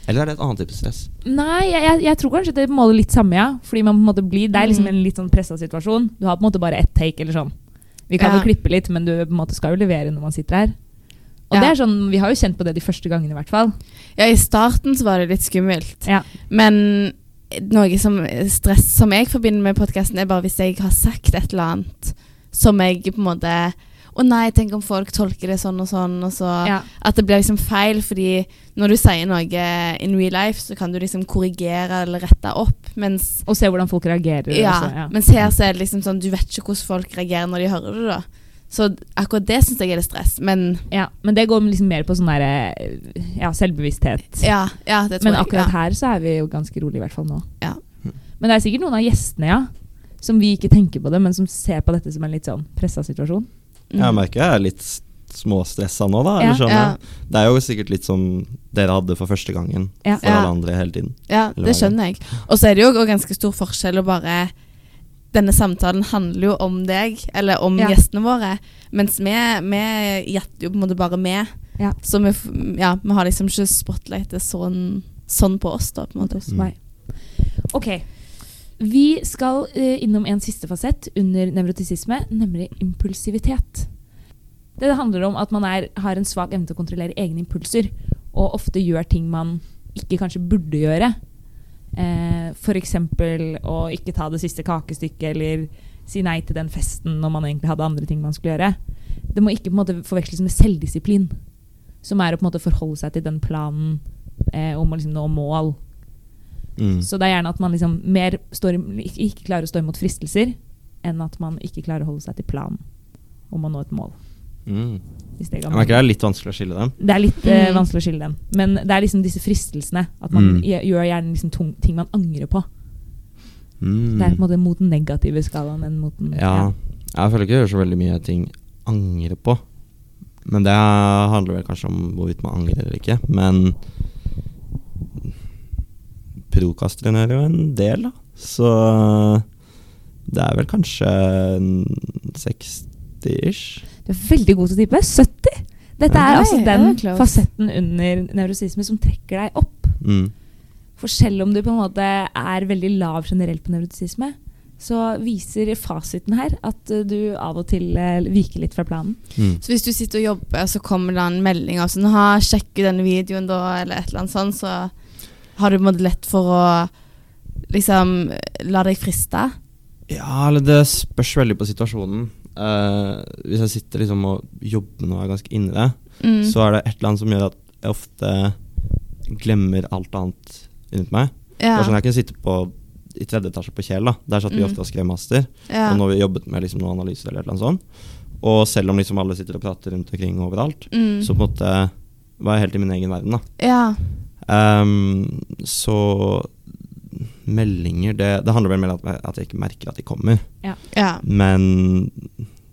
Eller er det et annet type stress? Nei, jeg, jeg, jeg tror kanskje det måler litt samme, ja. Fordi man på en måte blir, Det er liksom Mm. en litt sånn pressa situasjon. Du har på en måte bare ett take eller sånn. Vi kan Ja. jo klippe litt, men du på en måte skal jo levere når man sitter her. Og Ja. det er sånn, vi har jo kjent på det de første gangene i hvert fall. Ja, i starten så var det litt skummelt. Ja. Men noe som stress som jeg forbinder med podkasten, er bare hvis jeg har sagt et eller annet som jeg på en måte Å nei, tenk om folk tolker det sånn og sånn, og så Ja. At det blir liksom feil, fordi når du sier noe in real life, så kan du liksom korrigere eller rette opp, mens Og se hvordan folk reagerer. ja, også, ja. mens her så er det liksom sånn Du vet ikke hvordan folk reagerer når de hører det, da. Så akkurat det syns jeg er litt stress. Men Ja, men det går liksom mer på sånn der, eh, ja, selvbevissthet. ja, ja det tror men jeg. akkurat ja. her så er vi jo ganske rolig i hvert fall nå. Ja. Men det er sikkert noen av gjestene, ja, som vi ikke tenker på det, men som ser på dette som en litt sånn pressa situasjon. Jeg merker jeg er litt s- småstressa nå, da. Mm. Ja. Eller sånn, Ja. Det er jo sikkert litt som dere hadde for første gangen Ja. for Ja. alle andre hele tiden. Ja, Eller det hva er skjønner jeg. Og så er det jo også ganske stor forskjell å bare Denne samtalen handler jo om deg, eller om Ja. gjestene våre. Mens vi, vi gjetter jo på en måte bare med. Ja. Så vi, f- ja, vi har liksom ikke spotlightet sånn, sånn på oss, da, på en måte. hos meg. Ok. Vi skal eh, innom en siste fasett under nevrotisisme, nemlig impulsivitet. Det handler om at man er, har en svak evne til å kontrollere egne impulser, og ofte gjør ting man ikke kanskje burde gjøre. Eh, F.eks. å ikke ta det siste kakestykket, eller si nei til den festen når man egentlig hadde andre ting man skulle gjøre. Det må ikke på en måte forveksles med selvdisiplin, som er å på en måte forholde seg til den planen eh, om å liksom nå mål. Mm. Så det er gjerne at man liksom mer står, ikke, ikke klarer å stå imot fristelser, enn at man ikke klarer å holde seg til planen om å nå et mål. Mm. Hvis det, er Jeg gammel. merker det er litt vanskelig å skille dem. det er litt eh, Mm. vanskelig å skille dem. Men det er liksom disse fristelsene. At man Mm. gje- gjør gjerne liksom tung, ting man angrer på. Det er på en måte mot den negative skalaen enn mot den Mm. Ja. Jeg føler ikke jeg gjør så veldig mye ting angrer på. Men det handler vel kanskje om hvorvidt man angrer eller ikke. Men prokastrene er jo en del, da. Så det er vel kanskje en 60-ish. Du er veldig god til å tippe. 70! Dette Oi, er altså ja, den det er close. fasetten under nevrosisme som trekker deg opp. Mm. For selv om du på en måte er veldig lav generelt på nevrotisisme, så viser fasiten her at eh, du av og til eh, viker litt fra planen. Mm. Så hvis du sitter og jobber, så kommer det en melding av sånn ha, 'Sjekk ut denne videoen, da', eller et eller annet sånt, så har du på en måte lett for å liksom la deg friste. Ja, eller det spørs veldig på situasjonen. Eh, hvis jeg sitter liksom og jobber med noe og er ganske inni det, Mm. så er det et eller annet som gjør at jeg ofte glemmer alt annet rundt meg. Det ja. er sånn jeg kunne sitte på i tredje etasje på Kjel. da Der satt vi Mm. ofte og skrev master. ja. Og når vi jobbet med liksom noen analyser eller et eller annet sånt Og selv om liksom alle sitter og prater rundt omkring overalt, mm. så på en måte var jeg helt i min egen verden. da ja. Ehm, Så meldinger Det, det handler vel mer om at- at jeg ikke merker at de kommer. ja. Men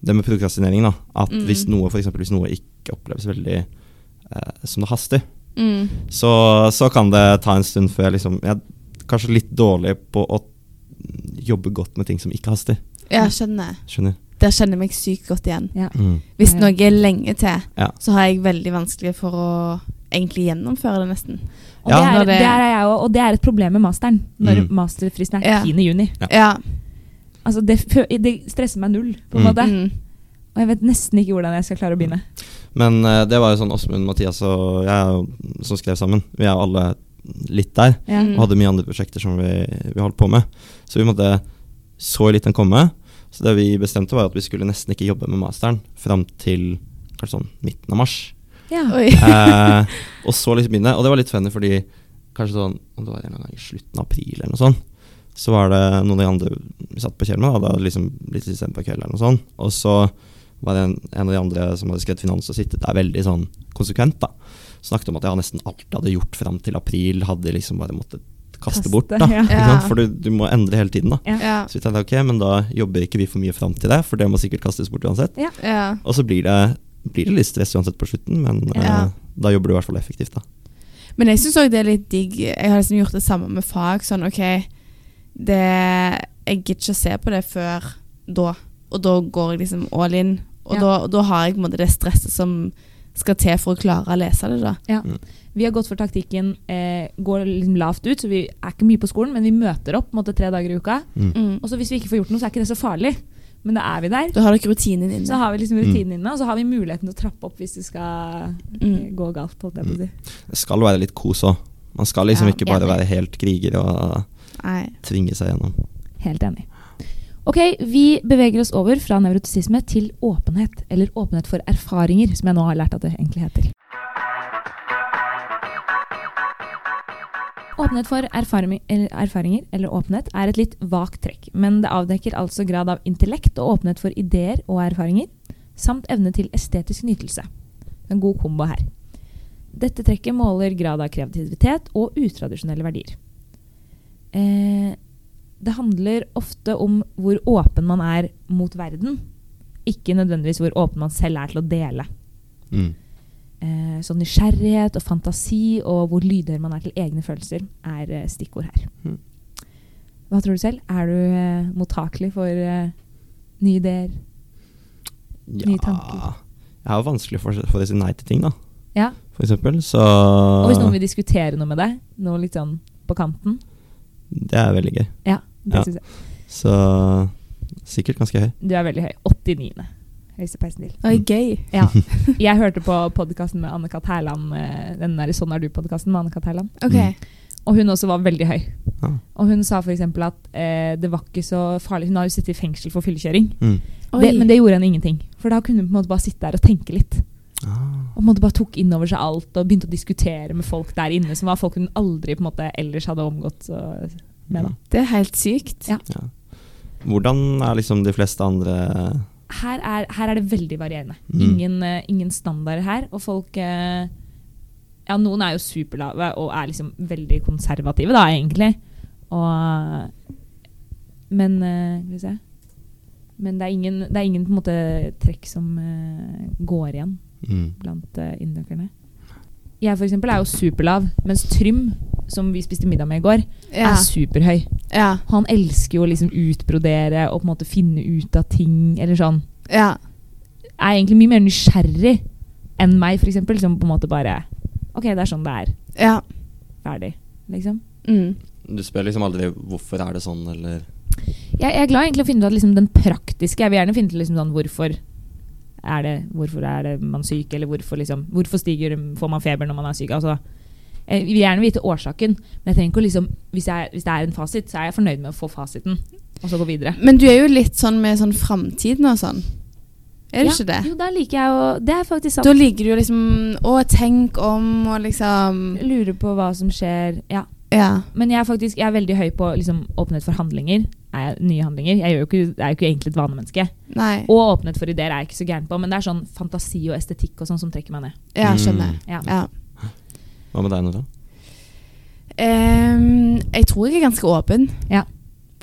det med prokrastinering, da. At Mm. hvis noe for eksempel, hvis noe ikke oppleves veldig eh, som det haster, Mm. så, så kan det ta en stund før jeg liksom Jeg er kanskje litt dårlig på å jobbe godt med ting som ikke haster. ja, skjønner. Skjønner. Der kjenner jeg meg sykt godt igjen. Mm. Hvis Ja. noe er lenge til, Ja. så har jeg veldig vanskelig for å egentlig gjennomføre det, nesten. Og, Ja. det Når er, det- det er jeg også, og det er et problem med masteren, når Mm. masterfristen er Ja. 10. juni. Ja. Ja. Altså det, fø- det stresser meg null, på en Mm. måte. Mm. Og jeg vet nesten ikke hvordan jeg skal klare å begynne. Men eh, det var jo sånn Åsmund, Mathias og jeg som skrev sammen. Vi er jo alle litt der. Ja. Mm. Og hadde mye andre prosjekter som vi, vi holdt på med. Så vi måtte så litt den komme. Så det vi bestemte var at vi skulle nesten ikke jobbe med masteren fram til kanskje sånn midten av mars. Ja. Oi. Eh, og så liksom begynne. Og det var litt funny fordi kanskje sånn om det var en eller annen gang i slutten av april eller noe sånt, så var det noen av de andre vi satt på kjelen med, da, det hadde liksom blitt litt sent på kvelden eller noe sånt. Og så var det en, en av de andre som hadde skrevet finans og sittet der veldig sånn konsekvent, da. Snakket om at ja, nesten alt jeg hadde gjort fram til april, hadde jeg liksom bare måttet kaste, Kaste, bort, da. ja. Ikke Ja. sant? For du, du må endre hele tiden, da. Ja. Så vi tenkte ok, men da jobber ikke vi for mye fram til det, for det må sikkert kastes bort uansett. Ja. Og så blir det, blir det litt stress uansett på slutten, men Ja. eh, da jobber du i hvert fall effektivt. da. Men jeg syns òg det er litt digg. Jeg har liksom gjort det samme med fag. Sånn OK, det Jeg gidder ikke å se på det før da. Og da går jeg liksom all in. Og Ja. da, og da har jeg på en måte det stresset som skal til for å klare å lese det, da. Vi har gått for taktikken eh, går liksom lavt ut, så vi er ikke mye på skolen, men vi møter opp på en måte, tre dager i uka. Mm. Og så hvis vi ikke får gjort noe, så er ikke det så farlig. men da er vi der. Du har ikke rutinen din Så inne. har vi liksom rutinene inne, og så har vi muligheten til å trappe opp hvis det skal eh, Mm. gå galt. Holdt jeg på å si. Det skal være litt kos òg. Man skal liksom Ja, ikke bare enig. være helt kriger og Nei. tvinge seg gjennom. Helt enig. Ok, Vi beveger oss over fra nevrotisisme til åpenhet, eller åpenhet for erfaringer, som jeg nå har lært at det egentlig heter. Åpenhet for erfaring, eller erfaringer, eller åpenhet, er et litt vagt trekk, men det avdekker altså grad av intellekt og åpenhet for ideer og erfaringer, samt evne til estetisk nytelse. En god kombo her. Dette trekket måler grad av kreativitet og utradisjonelle verdier. Eh, det handler ofte om hvor åpen man er mot verden, ikke nødvendigvis hvor åpen man selv er til å dele. Mm. Eh, så nysgjerrighet og fantasi og hvor lydhør man er til egne følelser, er eh, stikkord her. Mm. Hva tror du selv? Er du eh, mottakelig for eh, nye ideer? Nye tanker. Jeg har vanskelig for, for å si nei til ting, da. Ja. For eksempel. Så Og Ah. hvis noen vil diskutere noe med deg, noe litt sånn på kanten? det er veldig gøy. Ja, det Ja. synes jeg. Så sikkert ganske høy. Du er veldig høy. 89. Høyeste peisen til. Oi, gøy. Ja. Jeg hørte på podkasten med Anne-Kat. Hærland, eh, den der Sånn er du-podkasten med Anne-Kat. Hærland. Ok. Mm. Og hun også var veldig høy. Ja. Og hun sa f.eks. at eh, det var ikke så farlig. Hun har jo sittet i fengsel for fyllekjøring. Mm. Det, men det gjorde henne ingenting. For da kunne hun på en måte bare sitte der og tenke litt. Ah. Og på en måte bare tok inn over seg alt og begynte å diskutere med folk der inne som var folk hun aldri på en måte ellers hadde omgått så- med. Da. Det er helt sykt. Ja. Ja. Hvordan er liksom de fleste andre Her, er, her er det veldig varierende. Mm. Ingen, eh, ingen standarder her. Og folk eh, Ja, noen er jo superlave og er liksom veldig konservative, da, egentlig. Og Men eh, Skal vi se. Men det er ingen, det er ingen på en måte trekk som eh, går igjen mm. blant eh, inndykkerne. Jeg for eksempel er jo superlav, mens Trym, som vi spiste middag med i går, Ja. er superhøy. Ja. Han elsker jo å liksom utbrodere og på en måte finne ut av ting, eller sånn. ja. Er egentlig mye mer nysgjerrig enn meg, for eksempel, som på en måte bare Ok, det er sånn det er. ja. Ferdig. Liksom. Mm. Du spør liksom aldri 'hvorfor er det sånn', eller Jeg, jeg er glad egentlig å finne ut at liksom den praktiske Jeg vil gjerne finne ut liksom sånn hvorfor er det, hvorfor er det man syk, eller hvorfor, liksom, hvorfor stiger, får man feber når man er syk? Altså, jeg vil gjerne vite årsaken, men jeg trenger ikke å liksom, hvis, jeg, hvis det er en fasit, så er jeg fornøyd med å få fasiten, og så gå videre. Men du er jo litt sånn med sånn framtiden og sånn. Er du Ja, ikke det? Jo, da liker jeg å Det er faktisk sant. Da ligger du jo liksom Å, tenk om, og liksom Lurer på hva som skjer. Ja. Ja. Men jeg er faktisk jeg er veldig høy på liksom, åpenhet for handlinger. Er jeg, nye handlinger. Jeg er jo ikke, jeg er jo ikke egentlig et vanemenneske. Nei. Og åpenhet for ideer er jeg ikke så gæren på, men det er sånn fantasi og estetikk og sånn som trekker meg ned. Mm. Ja, skjønner. Ja. Ja. Hva med deg, Nora? Ehm, jeg tror jeg er ganske åpen Ja.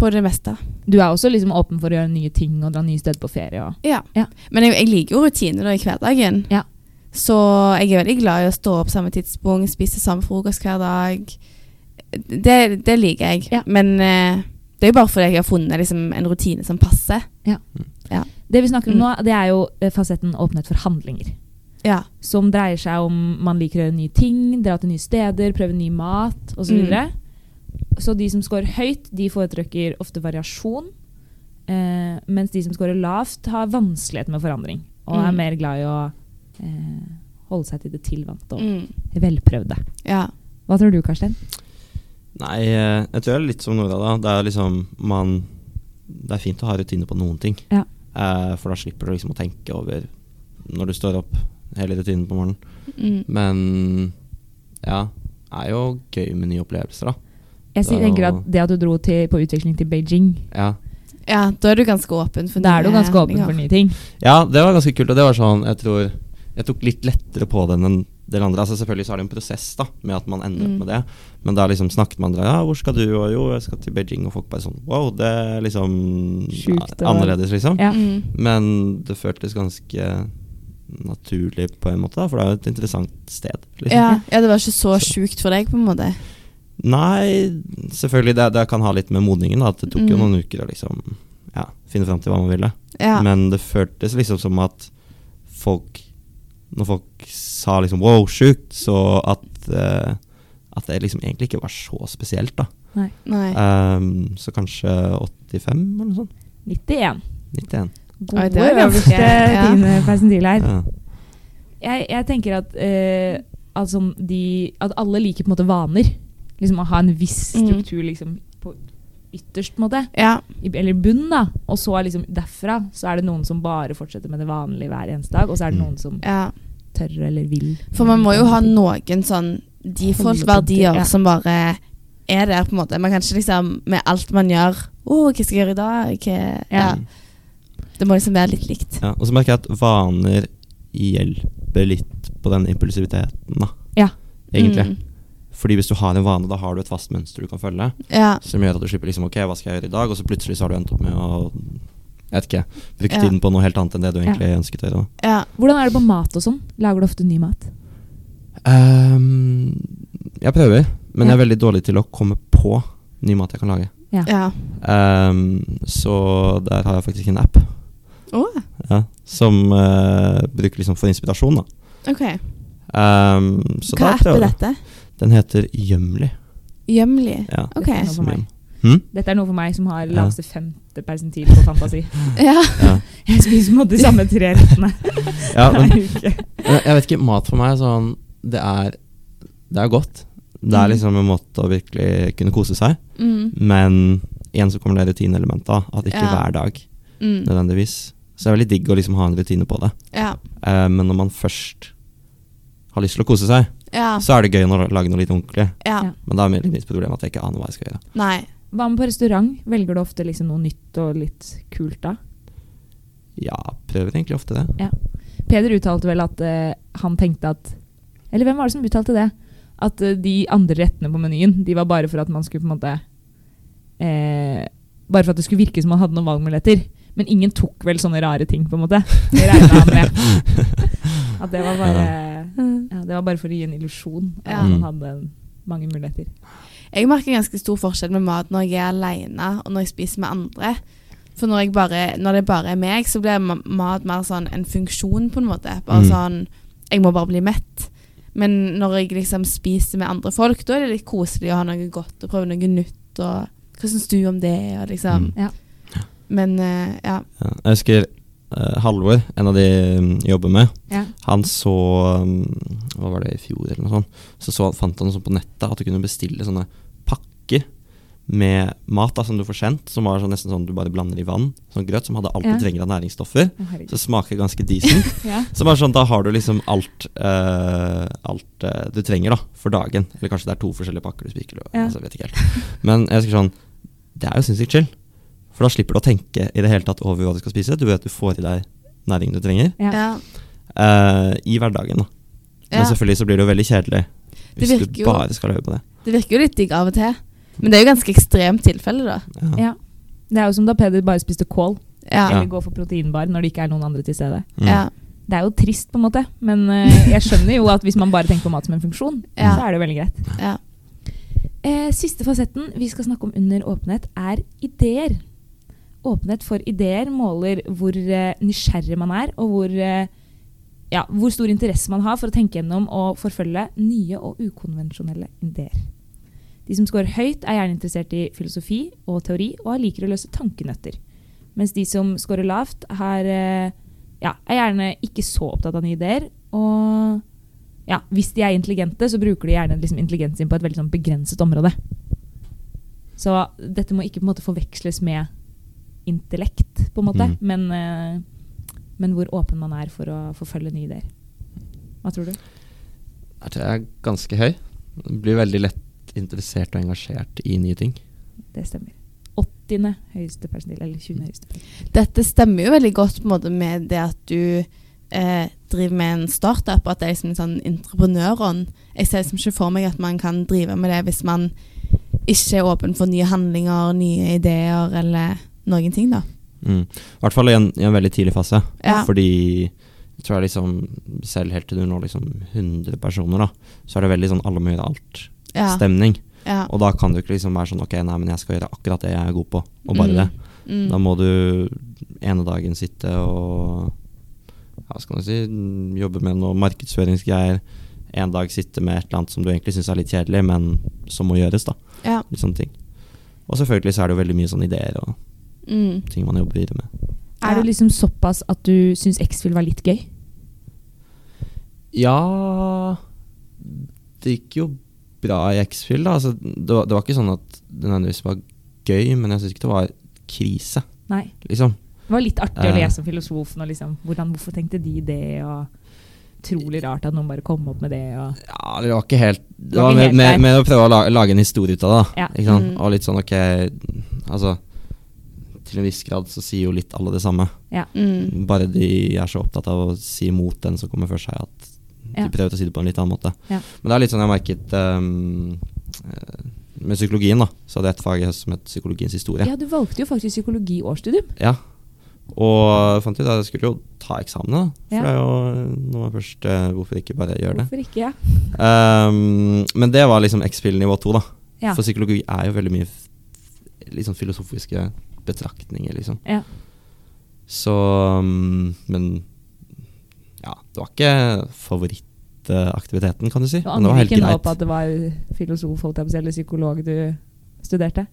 på det meste. Du er også liksom åpen for å gjøre nye ting og dra nye steder på ferie. Og. Ja. Ja. Men jeg, jeg liker jo rutiner da i hverdagen. Ja. Så jeg er veldig glad i å stå opp samme tidspunkt, spise samme frokost hver dag. Det, det liker jeg. Ja. Men eh, det er jo bare fordi jeg har funnet liksom, en rutine som passer. Det vi snakker om Mm. nå, det er jo eh, fasetten åpenhet for handlinger. Ja. Som dreier seg om man liker å gjøre nye ting, dra til nye steder, prøve ny mat osv. Så, Mm. videre. så de som scorer høyt, de foretrekker ofte variasjon. Eh, mens de som scorer lavt, har vanskelighet med forandring. Og Mm. er mer glad i å eh, holde seg til det tilvante og Mm. velprøvde. Ja. Hva tror du, Karsten? Nei, eh, jeg tror jeg er litt som Nora, da. Det er liksom man Det er fint å ha rutiner på noen ting. Ja. Eh, for da slipper du liksom å tenke over når du står opp, hele rutinen på morgenen. Mm. Men ja, det er jo gøy med nye opplevelser, da. Jeg sier- Da- tenker at det at du dro til, på utveksling til Beijing Ja, ja, da er du ganske åpen for Da er du ganske åpen for handlinger. nye ting. ja det var ganske kult. Og det var sånn, jeg tror Jeg tok litt lettere på den enn del andre. Altså Selvfølgelig så er det en prosess da med at man ender Mm. opp med det. Men da liksom snakket man andre Ja, hvor skal du? Og jo, jeg skal til Beijing. Og folk bare sånn Wow, det er liksom Sjukt, a- og- annerledes, liksom. Ja. Mm. Men det føltes ganske naturlig på en måte, da, for det er jo et interessant sted. Liksom. Ja, ja, det var ikke så sjukt for deg, på en måte. Nei, selvfølgelig, det, det kan ha litt med modningen, da, at det tok jo Mm. noen uker å liksom, ja, finne fram til hva man ville. Ja. Men det føltes liksom som at folk Når folk sa liksom 'wow, sjukt', så at, eh, at det liksom egentlig ikke var så spesielt, da. Um, Nei. Ehm, så kanskje 85, eller noe sånt. 91. 91. Gode, Oi, det var øverste bra. Ja. dine persentil her. Ja. Jeg, jeg tenker at, eh, at, sånn de, at alle liker på en måte vaner. Liksom Å ha en viss Mm. struktur liksom, på ytterst, på en måte. Ja. I- Eller bunn, da. Og så er liksom derfra så er det noen som bare fortsetter med det vanlige hver eneste dag. Og så er det Mm. noen som ja. tør eller vil. For man må jo ha noen sånn De folk verdier Ja. som bare er der, på en måte. Man kan ikke liksom med alt man gjør Å, hva skal jeg gjøre i dag? Hva? Ja. Ja. Mm. Det må liksom være litt likt. Ja, og så merker jeg at vaner hjelper litt på den impulsiviteten, da. Ja. Egentlig. Mm. Fordi hvis du har en vane, da har du et fast mønster du kan følge. Ja. Som gjør at du slipper liksom Ok, hva skal jeg gjøre i dag? Og så plutselig så har du endt opp med å Jeg vet ikke. Bruke Ja. tiden på noe helt annet enn det du Ja. egentlig ønsket å gjøre. da. ja. Hvordan er det på mat og sånn? Lager du ofte ny mat? Ehm, jeg prøver, men Ja. jeg er veldig dårlig til å komme på ny mat jeg kan lage. ja. Ehm, så der har jeg faktisk en app Å, ja, som eh, bruker liksom for inspirasjon, da. OK. Ehm, så Hva da app er prøver jeg. dette? Den heter Gjømli. Gjømli. Ja. OK. Dette er noe for Som meg. Gjøm. Hm? Dette er noe for meg som har Ja. laveste femte persentil på fantasi. Ja. Ja. Jeg spiser på en måte de samme tre rettene ja, men hver uke. jeg jeg vet ikke, mat for meg er sånn Det er, det er godt. Det er liksom en måte å virkelig kunne kose seg. Mm. Men igjen så kommer det rutineelementet, da, at ikke Ja. hver dag Mm. nødvendigvis. Så det er veldig digg å liksom ha en rutine på det. Ja. Eh, men når man først har lyst til å kose seg, Ja. så er det gøy å lage noe litt ordentlig. ja. Ja. Men da er mitt problem at jeg ikke aner hva jeg skal gjøre. Nei. Hva med på restaurant? Velger du ofte liksom noe nytt og litt kult da? Ja, prøver egentlig ofte det. Peder uttalte vel at eh, han tenkte at Eller hvem var det som uttalte det? At eh, de andre rettene på menyen, de var bare for at man skulle på en måte eh, Bare for at det skulle virke som man hadde noen valgmuligheter. Men ingen tok vel sånne rare ting, på en måte. Det regnet han med. At det var bare ja, Det var bare for å gi en illusjon av Ja. at man Mm. hadde mange muligheter. Jeg merker ganske stor forskjell med mat når jeg er alene og når jeg spiser med andre. For når, jeg bare, når det bare er meg, så blir ma- mat mer sånn en funksjon, på en måte. Bare Mm. sånn Jeg må bare bli mett. Men når jeg liksom spiser med andre folk, da er det litt koselig å ha noe godt og prøve noe nytt. Og hva syns du om det? Og liksom. Mm. Ja. Men eh, ja. Ja. Jeg husker eh, Halvor, en av de mm, jeg jobber med, Ja. han så mm, Hva var det, i fjor eller noe sånt? Så, så fant han sånn på nettet at du kunne bestille sånne pakker med mat da, som du får sendt, som var sånn, nesten sånn du bare blander i vann. Sånn grøt som hadde alt du Ja. trenger av næringsstoffer. Å, herregud. Så smaker det ganske decent. Ja. Så bare sånn, da har du liksom alt, eh, alt eh, du trenger da, for dagen. Eller kanskje det er to forskjellige pakker du spiker. og- Ja. Altså, jeg vet ikke helt. Men jeg husker sånn, det er jo sinnssykt chill. For da slipper du å tenke i det hele tatt over hva du skal spise. Du vet du får i deg næringen du trenger Ja. ja. eh, i hverdagen. da. Men Ja. selvfølgelig så blir det jo veldig kjedelig Det hvis virker du jo- bare skal høre på det. Det virker jo litt digg av og til. Men det er jo ganske ekstremt tilfelle, da. Ja. ja. Det er jo som da Peder bare spiste kål. Ja. Ja. Eller går for proteinbar når det ikke er noen andre til stede. Mm. Ja. Det er jo trist, på en måte, men eh, jeg skjønner jo at hvis man bare tenker på mat som en funksjon, Ja. så er det jo veldig greit. Ja. Eh, siste fasetten vi skal snakke om under åpenhet, er ideer. Åpenhet for ideer måler hvor eh, nysgjerrig man er, og hvor, eh, ja, hvor stor interesse man har for å tenke gjennom og forfølge nye og ukonvensjonelle ideer. De som scorer høyt, er gjerne interessert i filosofi og teori og liker å løse tankenøtter. Mens de som scorer lavt, har, eh, ja, er gjerne ikke så opptatt av nye ideer. Og ja, hvis de er intelligente, så bruker de gjerne liksom intelligensen sin på et veldig sånn begrenset område. Så dette må ikke på en måte forveksles med intellekt, på en måte, Mm. men, eh, men hvor åpen man er for å forfølge nye ideer. Hva tror du? Jeg tror jeg er ganske høy. Blir veldig lett interessert og engasjert i nye ting. Det stemmer. 80. høyeste persentil, eller 20. høyeste persentil. Dette stemmer jo veldig godt på en måte med det at du eh, driver med en startup, og at det er liksom en sånn entreprenørånd. Jeg ser liksom ikke for meg at man kan drive med det hvis man ikke er åpen for nye handlinger, nye ideer eller noen ting, da. Mm. I hvert fall i en, i en veldig tidlig fase. Ja. Fordi jeg tror jeg liksom selv helt til du når liksom 100 personer, da, så er det veldig sånn alle må gjøre Ja. alt-stemning. Ja. Og da kan du ikke liksom være sånn ok, nei, men jeg skal gjøre akkurat det jeg er god på, og bare Mm. det. Da Mm. må du ene dagen sitte og hva skal man si, jobbe med noe markedsføringsgreier. En dag sitte med et eller annet som du egentlig syns er litt kjedelig, men som må gjøres. da, Ja. litt sånne ting. Og selvfølgelig så er det jo veldig mye sånne ideer og Mm. ting man jobber videre med. Er du liksom såpass at du syns X-Fill var litt gøy? Ja Det gikk jo bra i X-Fill, da. Altså, det, var, det var ikke sånn at det nødvendigvis var gøy, men jeg syns ikke det var krise, Nei. liksom. Det var litt artig å Eh. lese om filosofen og liksom hvordan, Hvorfor tenkte de det, og Utrolig rart at noen bare kom opp med det. Og, Ja, det var ikke helt Det var var ikke mer helt mer- der. mer å prøve å lage, lage en historie ut av det, da. Ja. Ikke sant? Mm. Og litt sånn ok Altså, til en viss grad så sier jo litt alle det samme. Mm. Bare de er så opptatt av å si imot den som kommer før seg, at Ja. de prøver å si det på en litt annen måte. Ja. Men det er litt sånn jeg har merket ehm, eh, med psykologien, da. Så hadde jeg et fag i høst som het psykologiens historie. ja, du valgte jo faktisk psykologi i årsstudium. Ja. Og fant ut at jeg skulle jo ta eksamen, da. For Ja. det er jo når man først eh, Hvorfor ikke bare gjøre det? Hvorfor ikke? Ja. Ehm, men det var liksom X-Fill nivå to, da. Ja. For psykologi er jo veldig mye f- litt sånn filosofiske betraktninger, liksom. Ja. Så mm, Men ja, det var ikke favorittaktiviteten, kan du si. Du men det var angrer helt ikke nå på at greit. det var filosof holdt jeg på, å si, eller psykolog du studerte?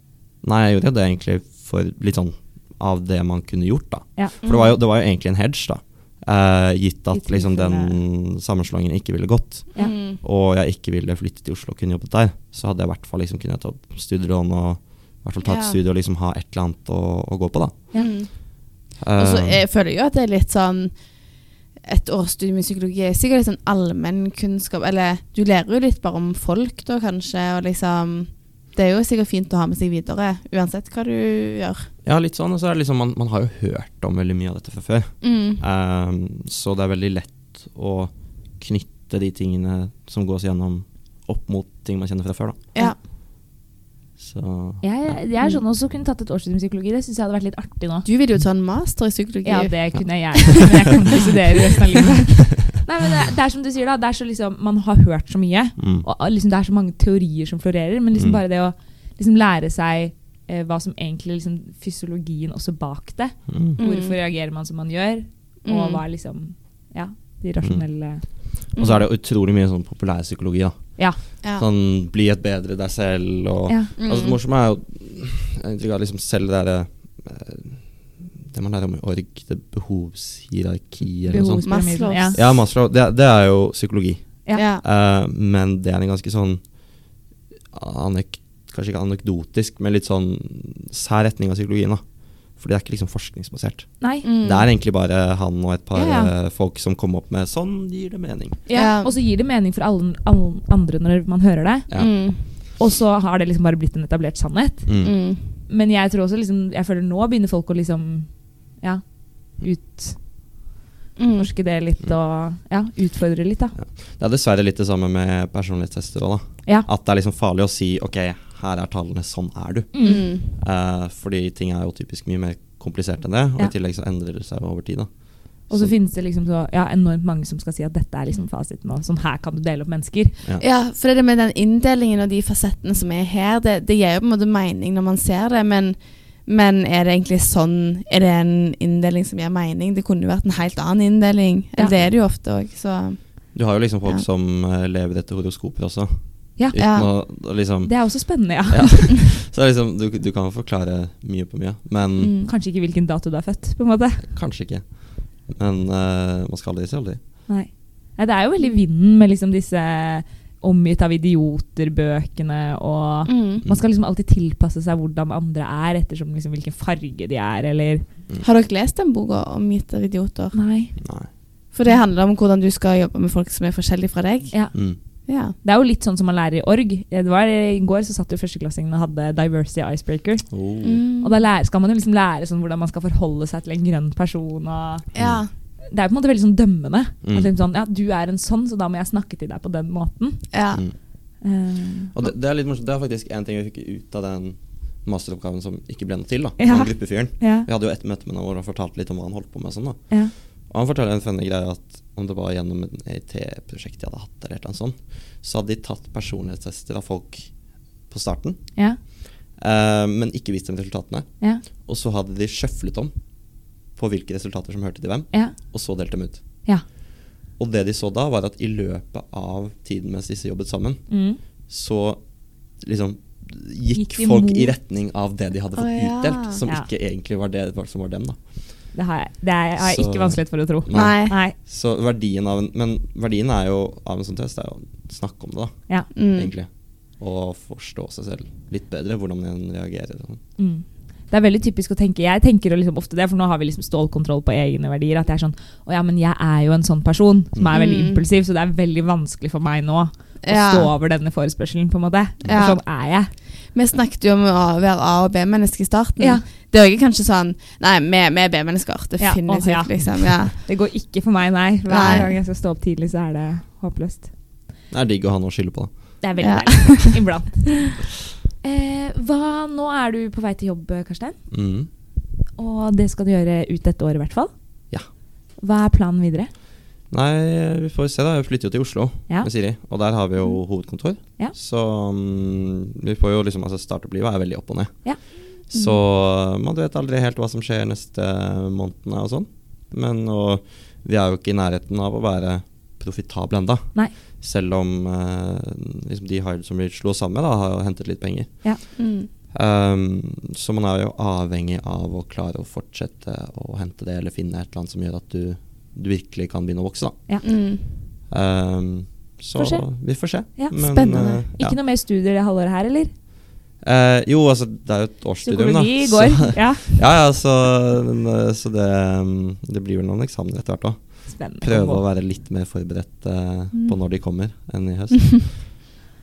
Nei, jeg gjorde jo det egentlig for litt sånn av det man kunne gjort, da. Ja. For det var jo, det var jo egentlig en hedge, da. Eh, Mm. gitt at Gitt liksom den tilfelle. sammenslåingen ikke ville gått, Ja. Mm. og jeg ikke ville flytte til Oslo og kunne jobbet der, så hadde jeg i hvert fall liksom kunnet ta studielån og i hvert fall ta et Ja. studie og liksom ha et eller annet å, å gå på, da. Mm. Eh, Og så jeg føler jeg jo at det er litt sånn Et årsstudium i psykologi er sikkert litt sånn allmennkunnskap. Eller du lærer jo litt bare om folk, da, kanskje. Og liksom Det er jo sikkert fint å ha med seg videre, uansett hva du gjør. ja, litt sånn. Og så er det liksom man, man har jo hørt om veldig mye av dette fra før. Mm. Eh, så det er veldig lett å knytte de tingene som gås gjennom, opp mot ting man kjenner fra før, da. Ja. Så Jeg, jeg er sånn også kunne tatt et årsstudium i psykologi. Det syns jeg hadde vært litt artig nå. Du vil jo ta en master i psykologi. Ja, det kunne jeg gjerne, men jeg kan ikke studere resten av livet. Nei, men det, det er som du sier, da. Det er så liksom, man har hørt så mye. mm. Og og liksom, det er så mange teorier som florerer, men liksom Mm. bare det å liksom, lære seg eh, hva som egentlig liksom, fysiologien også bak det. Mm. Mm. Hvorfor reagerer man som man gjør, Mm. og hva er liksom ja, de rasjonelle Mm. Og så er det jo utrolig mye sånn populærpsykologi, da. Mm. Ja. Sånn bli et bedre deg selv og Ja. Altså Det Mm. morsomme er jo jeg har inntrykk av liksom selv det derre eh, Det man lærer om i org, det behovshierarki eller noe sånt. Behovspyramiden. Ja. Maslows. Ja, Maslow, det, det er jo psykologi. Ja. Ja. Eh, men det er en ganske sånn anek, Kanskje ikke anekdotisk, men litt sånn sær retning av psykologien. da For det er ikke liksom forskningsbasert. Nei. Mm. Det er egentlig bare han og et par Ja, ja. eh, folk som kom opp med 'sånn gir det mening'. Ja. Ja. Og så gir det mening for alle, alle andre når man hører det. Ja. Mm. Og så har det liksom bare blitt en etablert sannhet. Mm. Mm. Men jeg tror også liksom, jeg føler nå begynner folk å liksom ja, utforske Mm. det litt og ja, utfordre litt, da. Det er dessverre litt det samme med personlighetstester òg, da. Ja. At det er liksom farlig å si 'ok, her er tallene, sånn er du'. Mm. Mm. Eh, fordi ting er jo typisk mye mer komplisert enn det, og Ja. i tillegg så endrer det seg over tid. da. Og så finnes det liksom så ja, enormt mange som skal si at dette er liksom fasiten, og sånn her kan du dele opp mennesker. Ja, for det er det med den inndelingen og de fasettene som er her, det, det gir jo på en måte mening når man ser det, men, men er det egentlig sånn Er det en inndeling som gir mening? Det kunne jo vært en helt annen inndeling. Ja. eller Det er det jo ofte òg, så Du har jo liksom folk Ja. som eh, lever etter horoskoper også. Ja. Uten Ja. Å, å liksom, Det er også spennende, Mm. ja. ja. Så det er liksom, du, du kan forklare mye på mye, men mm. Kanskje ikke hvilken dato du er født, på en måte. kanskje ikke. Men eh, man skal aldri si aldri. Nei. Nei, det er jo veldig vinden med liksom disse omgitt av idioter-bøkene og Mm. Man skal liksom alltid tilpasse seg hvordan andre er, ettersom liksom hvilken farge de er, eller Har dere lest den boka om gitte idioter? Nei. Nei. For det handler om hvordan du skal jobbe med folk som er forskjellige fra deg. Mm. Ja. Det er jo litt sånn som man lærer i org. Det var, eh, I går så satt jo førsteklassingene og hadde Diversity Icebreaker. Oh. Mm. Mm. Og da lærer, skal man jo liksom lære sånn hvordan man skal forholde seg til en grønn person. Og ja. det er på en måte veldig sånn dømmende. Mm. At liksom sånn, ja, du er en sånn, så da må jeg snakke til deg på den måten. ja. Mm. Eh, Og det, det er litt morsomt, det er faktisk en ting vi fikk ut av den masteroppgaven som ikke ble noe til. da, Ja. Han gruppefyren. ja, Vi hadde jo et møte med ham hvor han fortalte litt om hva han holdt på med. og sånn da. ja. Og han forteller en funny greie at om det var gjennom et EIT-prosjekt de hadde hatt, eller et eller annet sånt, så hadde de tatt personlighetstester av folk på starten, Ja, eh, men ikke vist dem resultatene. ja, Og så hadde de sjøflet om på hvilke resultater som hørte til hvem, ja. og så delt dem ut. Ja. Og det de så da, var at i løpet av tiden mens disse jobbet sammen, Mm. så liksom gikk, Gikk de folk mot- i retning av det de hadde fått Å, ja. utdelt, som Ja. ikke egentlig var det som var dem. da. Det har jeg, det er, har jeg Så- ikke vanskelighet for å tro. Nei. Mm. Nei. Så verdien av en Men verdien er jo av en sånn test er jo å snakke om det, da, Ja. Mm. egentlig. Og forstå seg selv litt bedre, hvordan en reagerer. og sånn. Mm. Det er veldig typisk å tenke Jeg tenker jo liksom ofte det, for nå har vi liksom stålkontroll på egne verdier. At jeg er sånn Å ja, men jeg er jo en sånn person som er veldig Mm. impulsiv, så det er veldig vanskelig for meg nå å stå Ja. over denne forespørselen, på en måte. Ja. For sånn er jeg. Vi snakket jo om å være A- og B-menneske i starten. Ja. Det er jo ikke kanskje sånn Nei, vi, vi er B-mennesker. Ja, Definitivt, åh, ja. liksom. Ja. Det går ikke for meg, nei. Hver Nei. gang jeg skal stå opp tidlig, så er det håpløst. Det er digg å ha noe å skylde på, da. Det er veldig Ja. deilig. Iblant. Eh, hva, nå er du på vei til jobb, eh, Karstein. Mm. Og det skal du gjøre ut dette året, i hvert fall. Ja. Hva er planen videre? Nei, vi får se, da. Vi flytter jo til Oslo Ja. Mm. med Siri, og der har vi jo hovedkontor. Ja. Så mm, vi får jo liksom Altså, startup-livet er veldig opp og ned. Ja. Mm. Så man vet aldri helt hva som skjer neste månedene og sånn. Men og vi er jo ikke i nærheten av å være profitable enda. Nei. Selv om eh, liksom de Hired som vi slo oss sammen med, da, har jo hentet litt penger. Mm. Um, så man er jo avhengig av å klare å fortsette å hente det, eller finne et eller annet som gjør at du, du virkelig kan begynne å vokse. da. Mm. Um, så Får se. vi får se. Ja, Men, spennende. eh, ja. Ikke noe mer studier det halvåret her, eller? Eh, jo, altså, det er jo et årsstudium, da. Psykologi i går. Så, Ja. ja, ja, så, den, eh, så det, mm, det blir vel noen eksamener etter hvert òg. Spennende. Prøve å være litt mer forberedt eh, Mm. på når de kommer, enn i høst.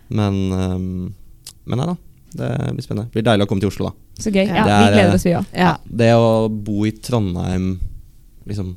Men, ehm, men nei da. Det blir spennende. Det blir deilig å komme til Oslo, da. Så gøy. Ja, Det vi er, gleder eh, oss, vi òg. Ja. Det å bo i Trondheim liksom,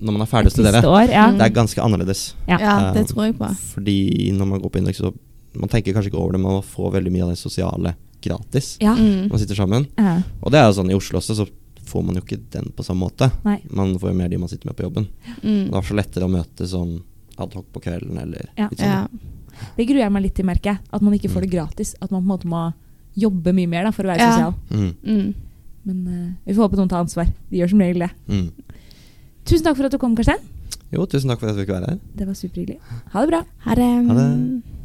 når man er ferdig å studere, Siste år. Ja. Mm. det er ganske annerledes. Ja. ja, det tror jeg på. Eh, Fordi når man går på Indeks, så man tenker kanskje ikke over det, man får veldig mye av det sosiale gratis. Ja. Mm. Man sitter sammen. Ja. Og det er jo sånn i Oslo også, så får man jo ikke den på samme måte. Nei. Man får jo mer de man sitter med på jobben. Det Mm. er så lettere å møte sånn adhoc på kvelden eller Ja. litt sånn. Ja. Det gruer jeg meg litt til, merker jeg. At man ikke Mm. får det gratis. At man på en måte må jobbe mye mer da, for å være Ja. sosial. Mm. Mm. Men eh, vi får håpe noen tar ansvar. De gjør som regel det. Mm. Tusen takk for at du kom, Karstein. Jo, tusen takk for at jeg fikk være her. Det var superhyggelig. Ha det bra. Ha det. Ha det.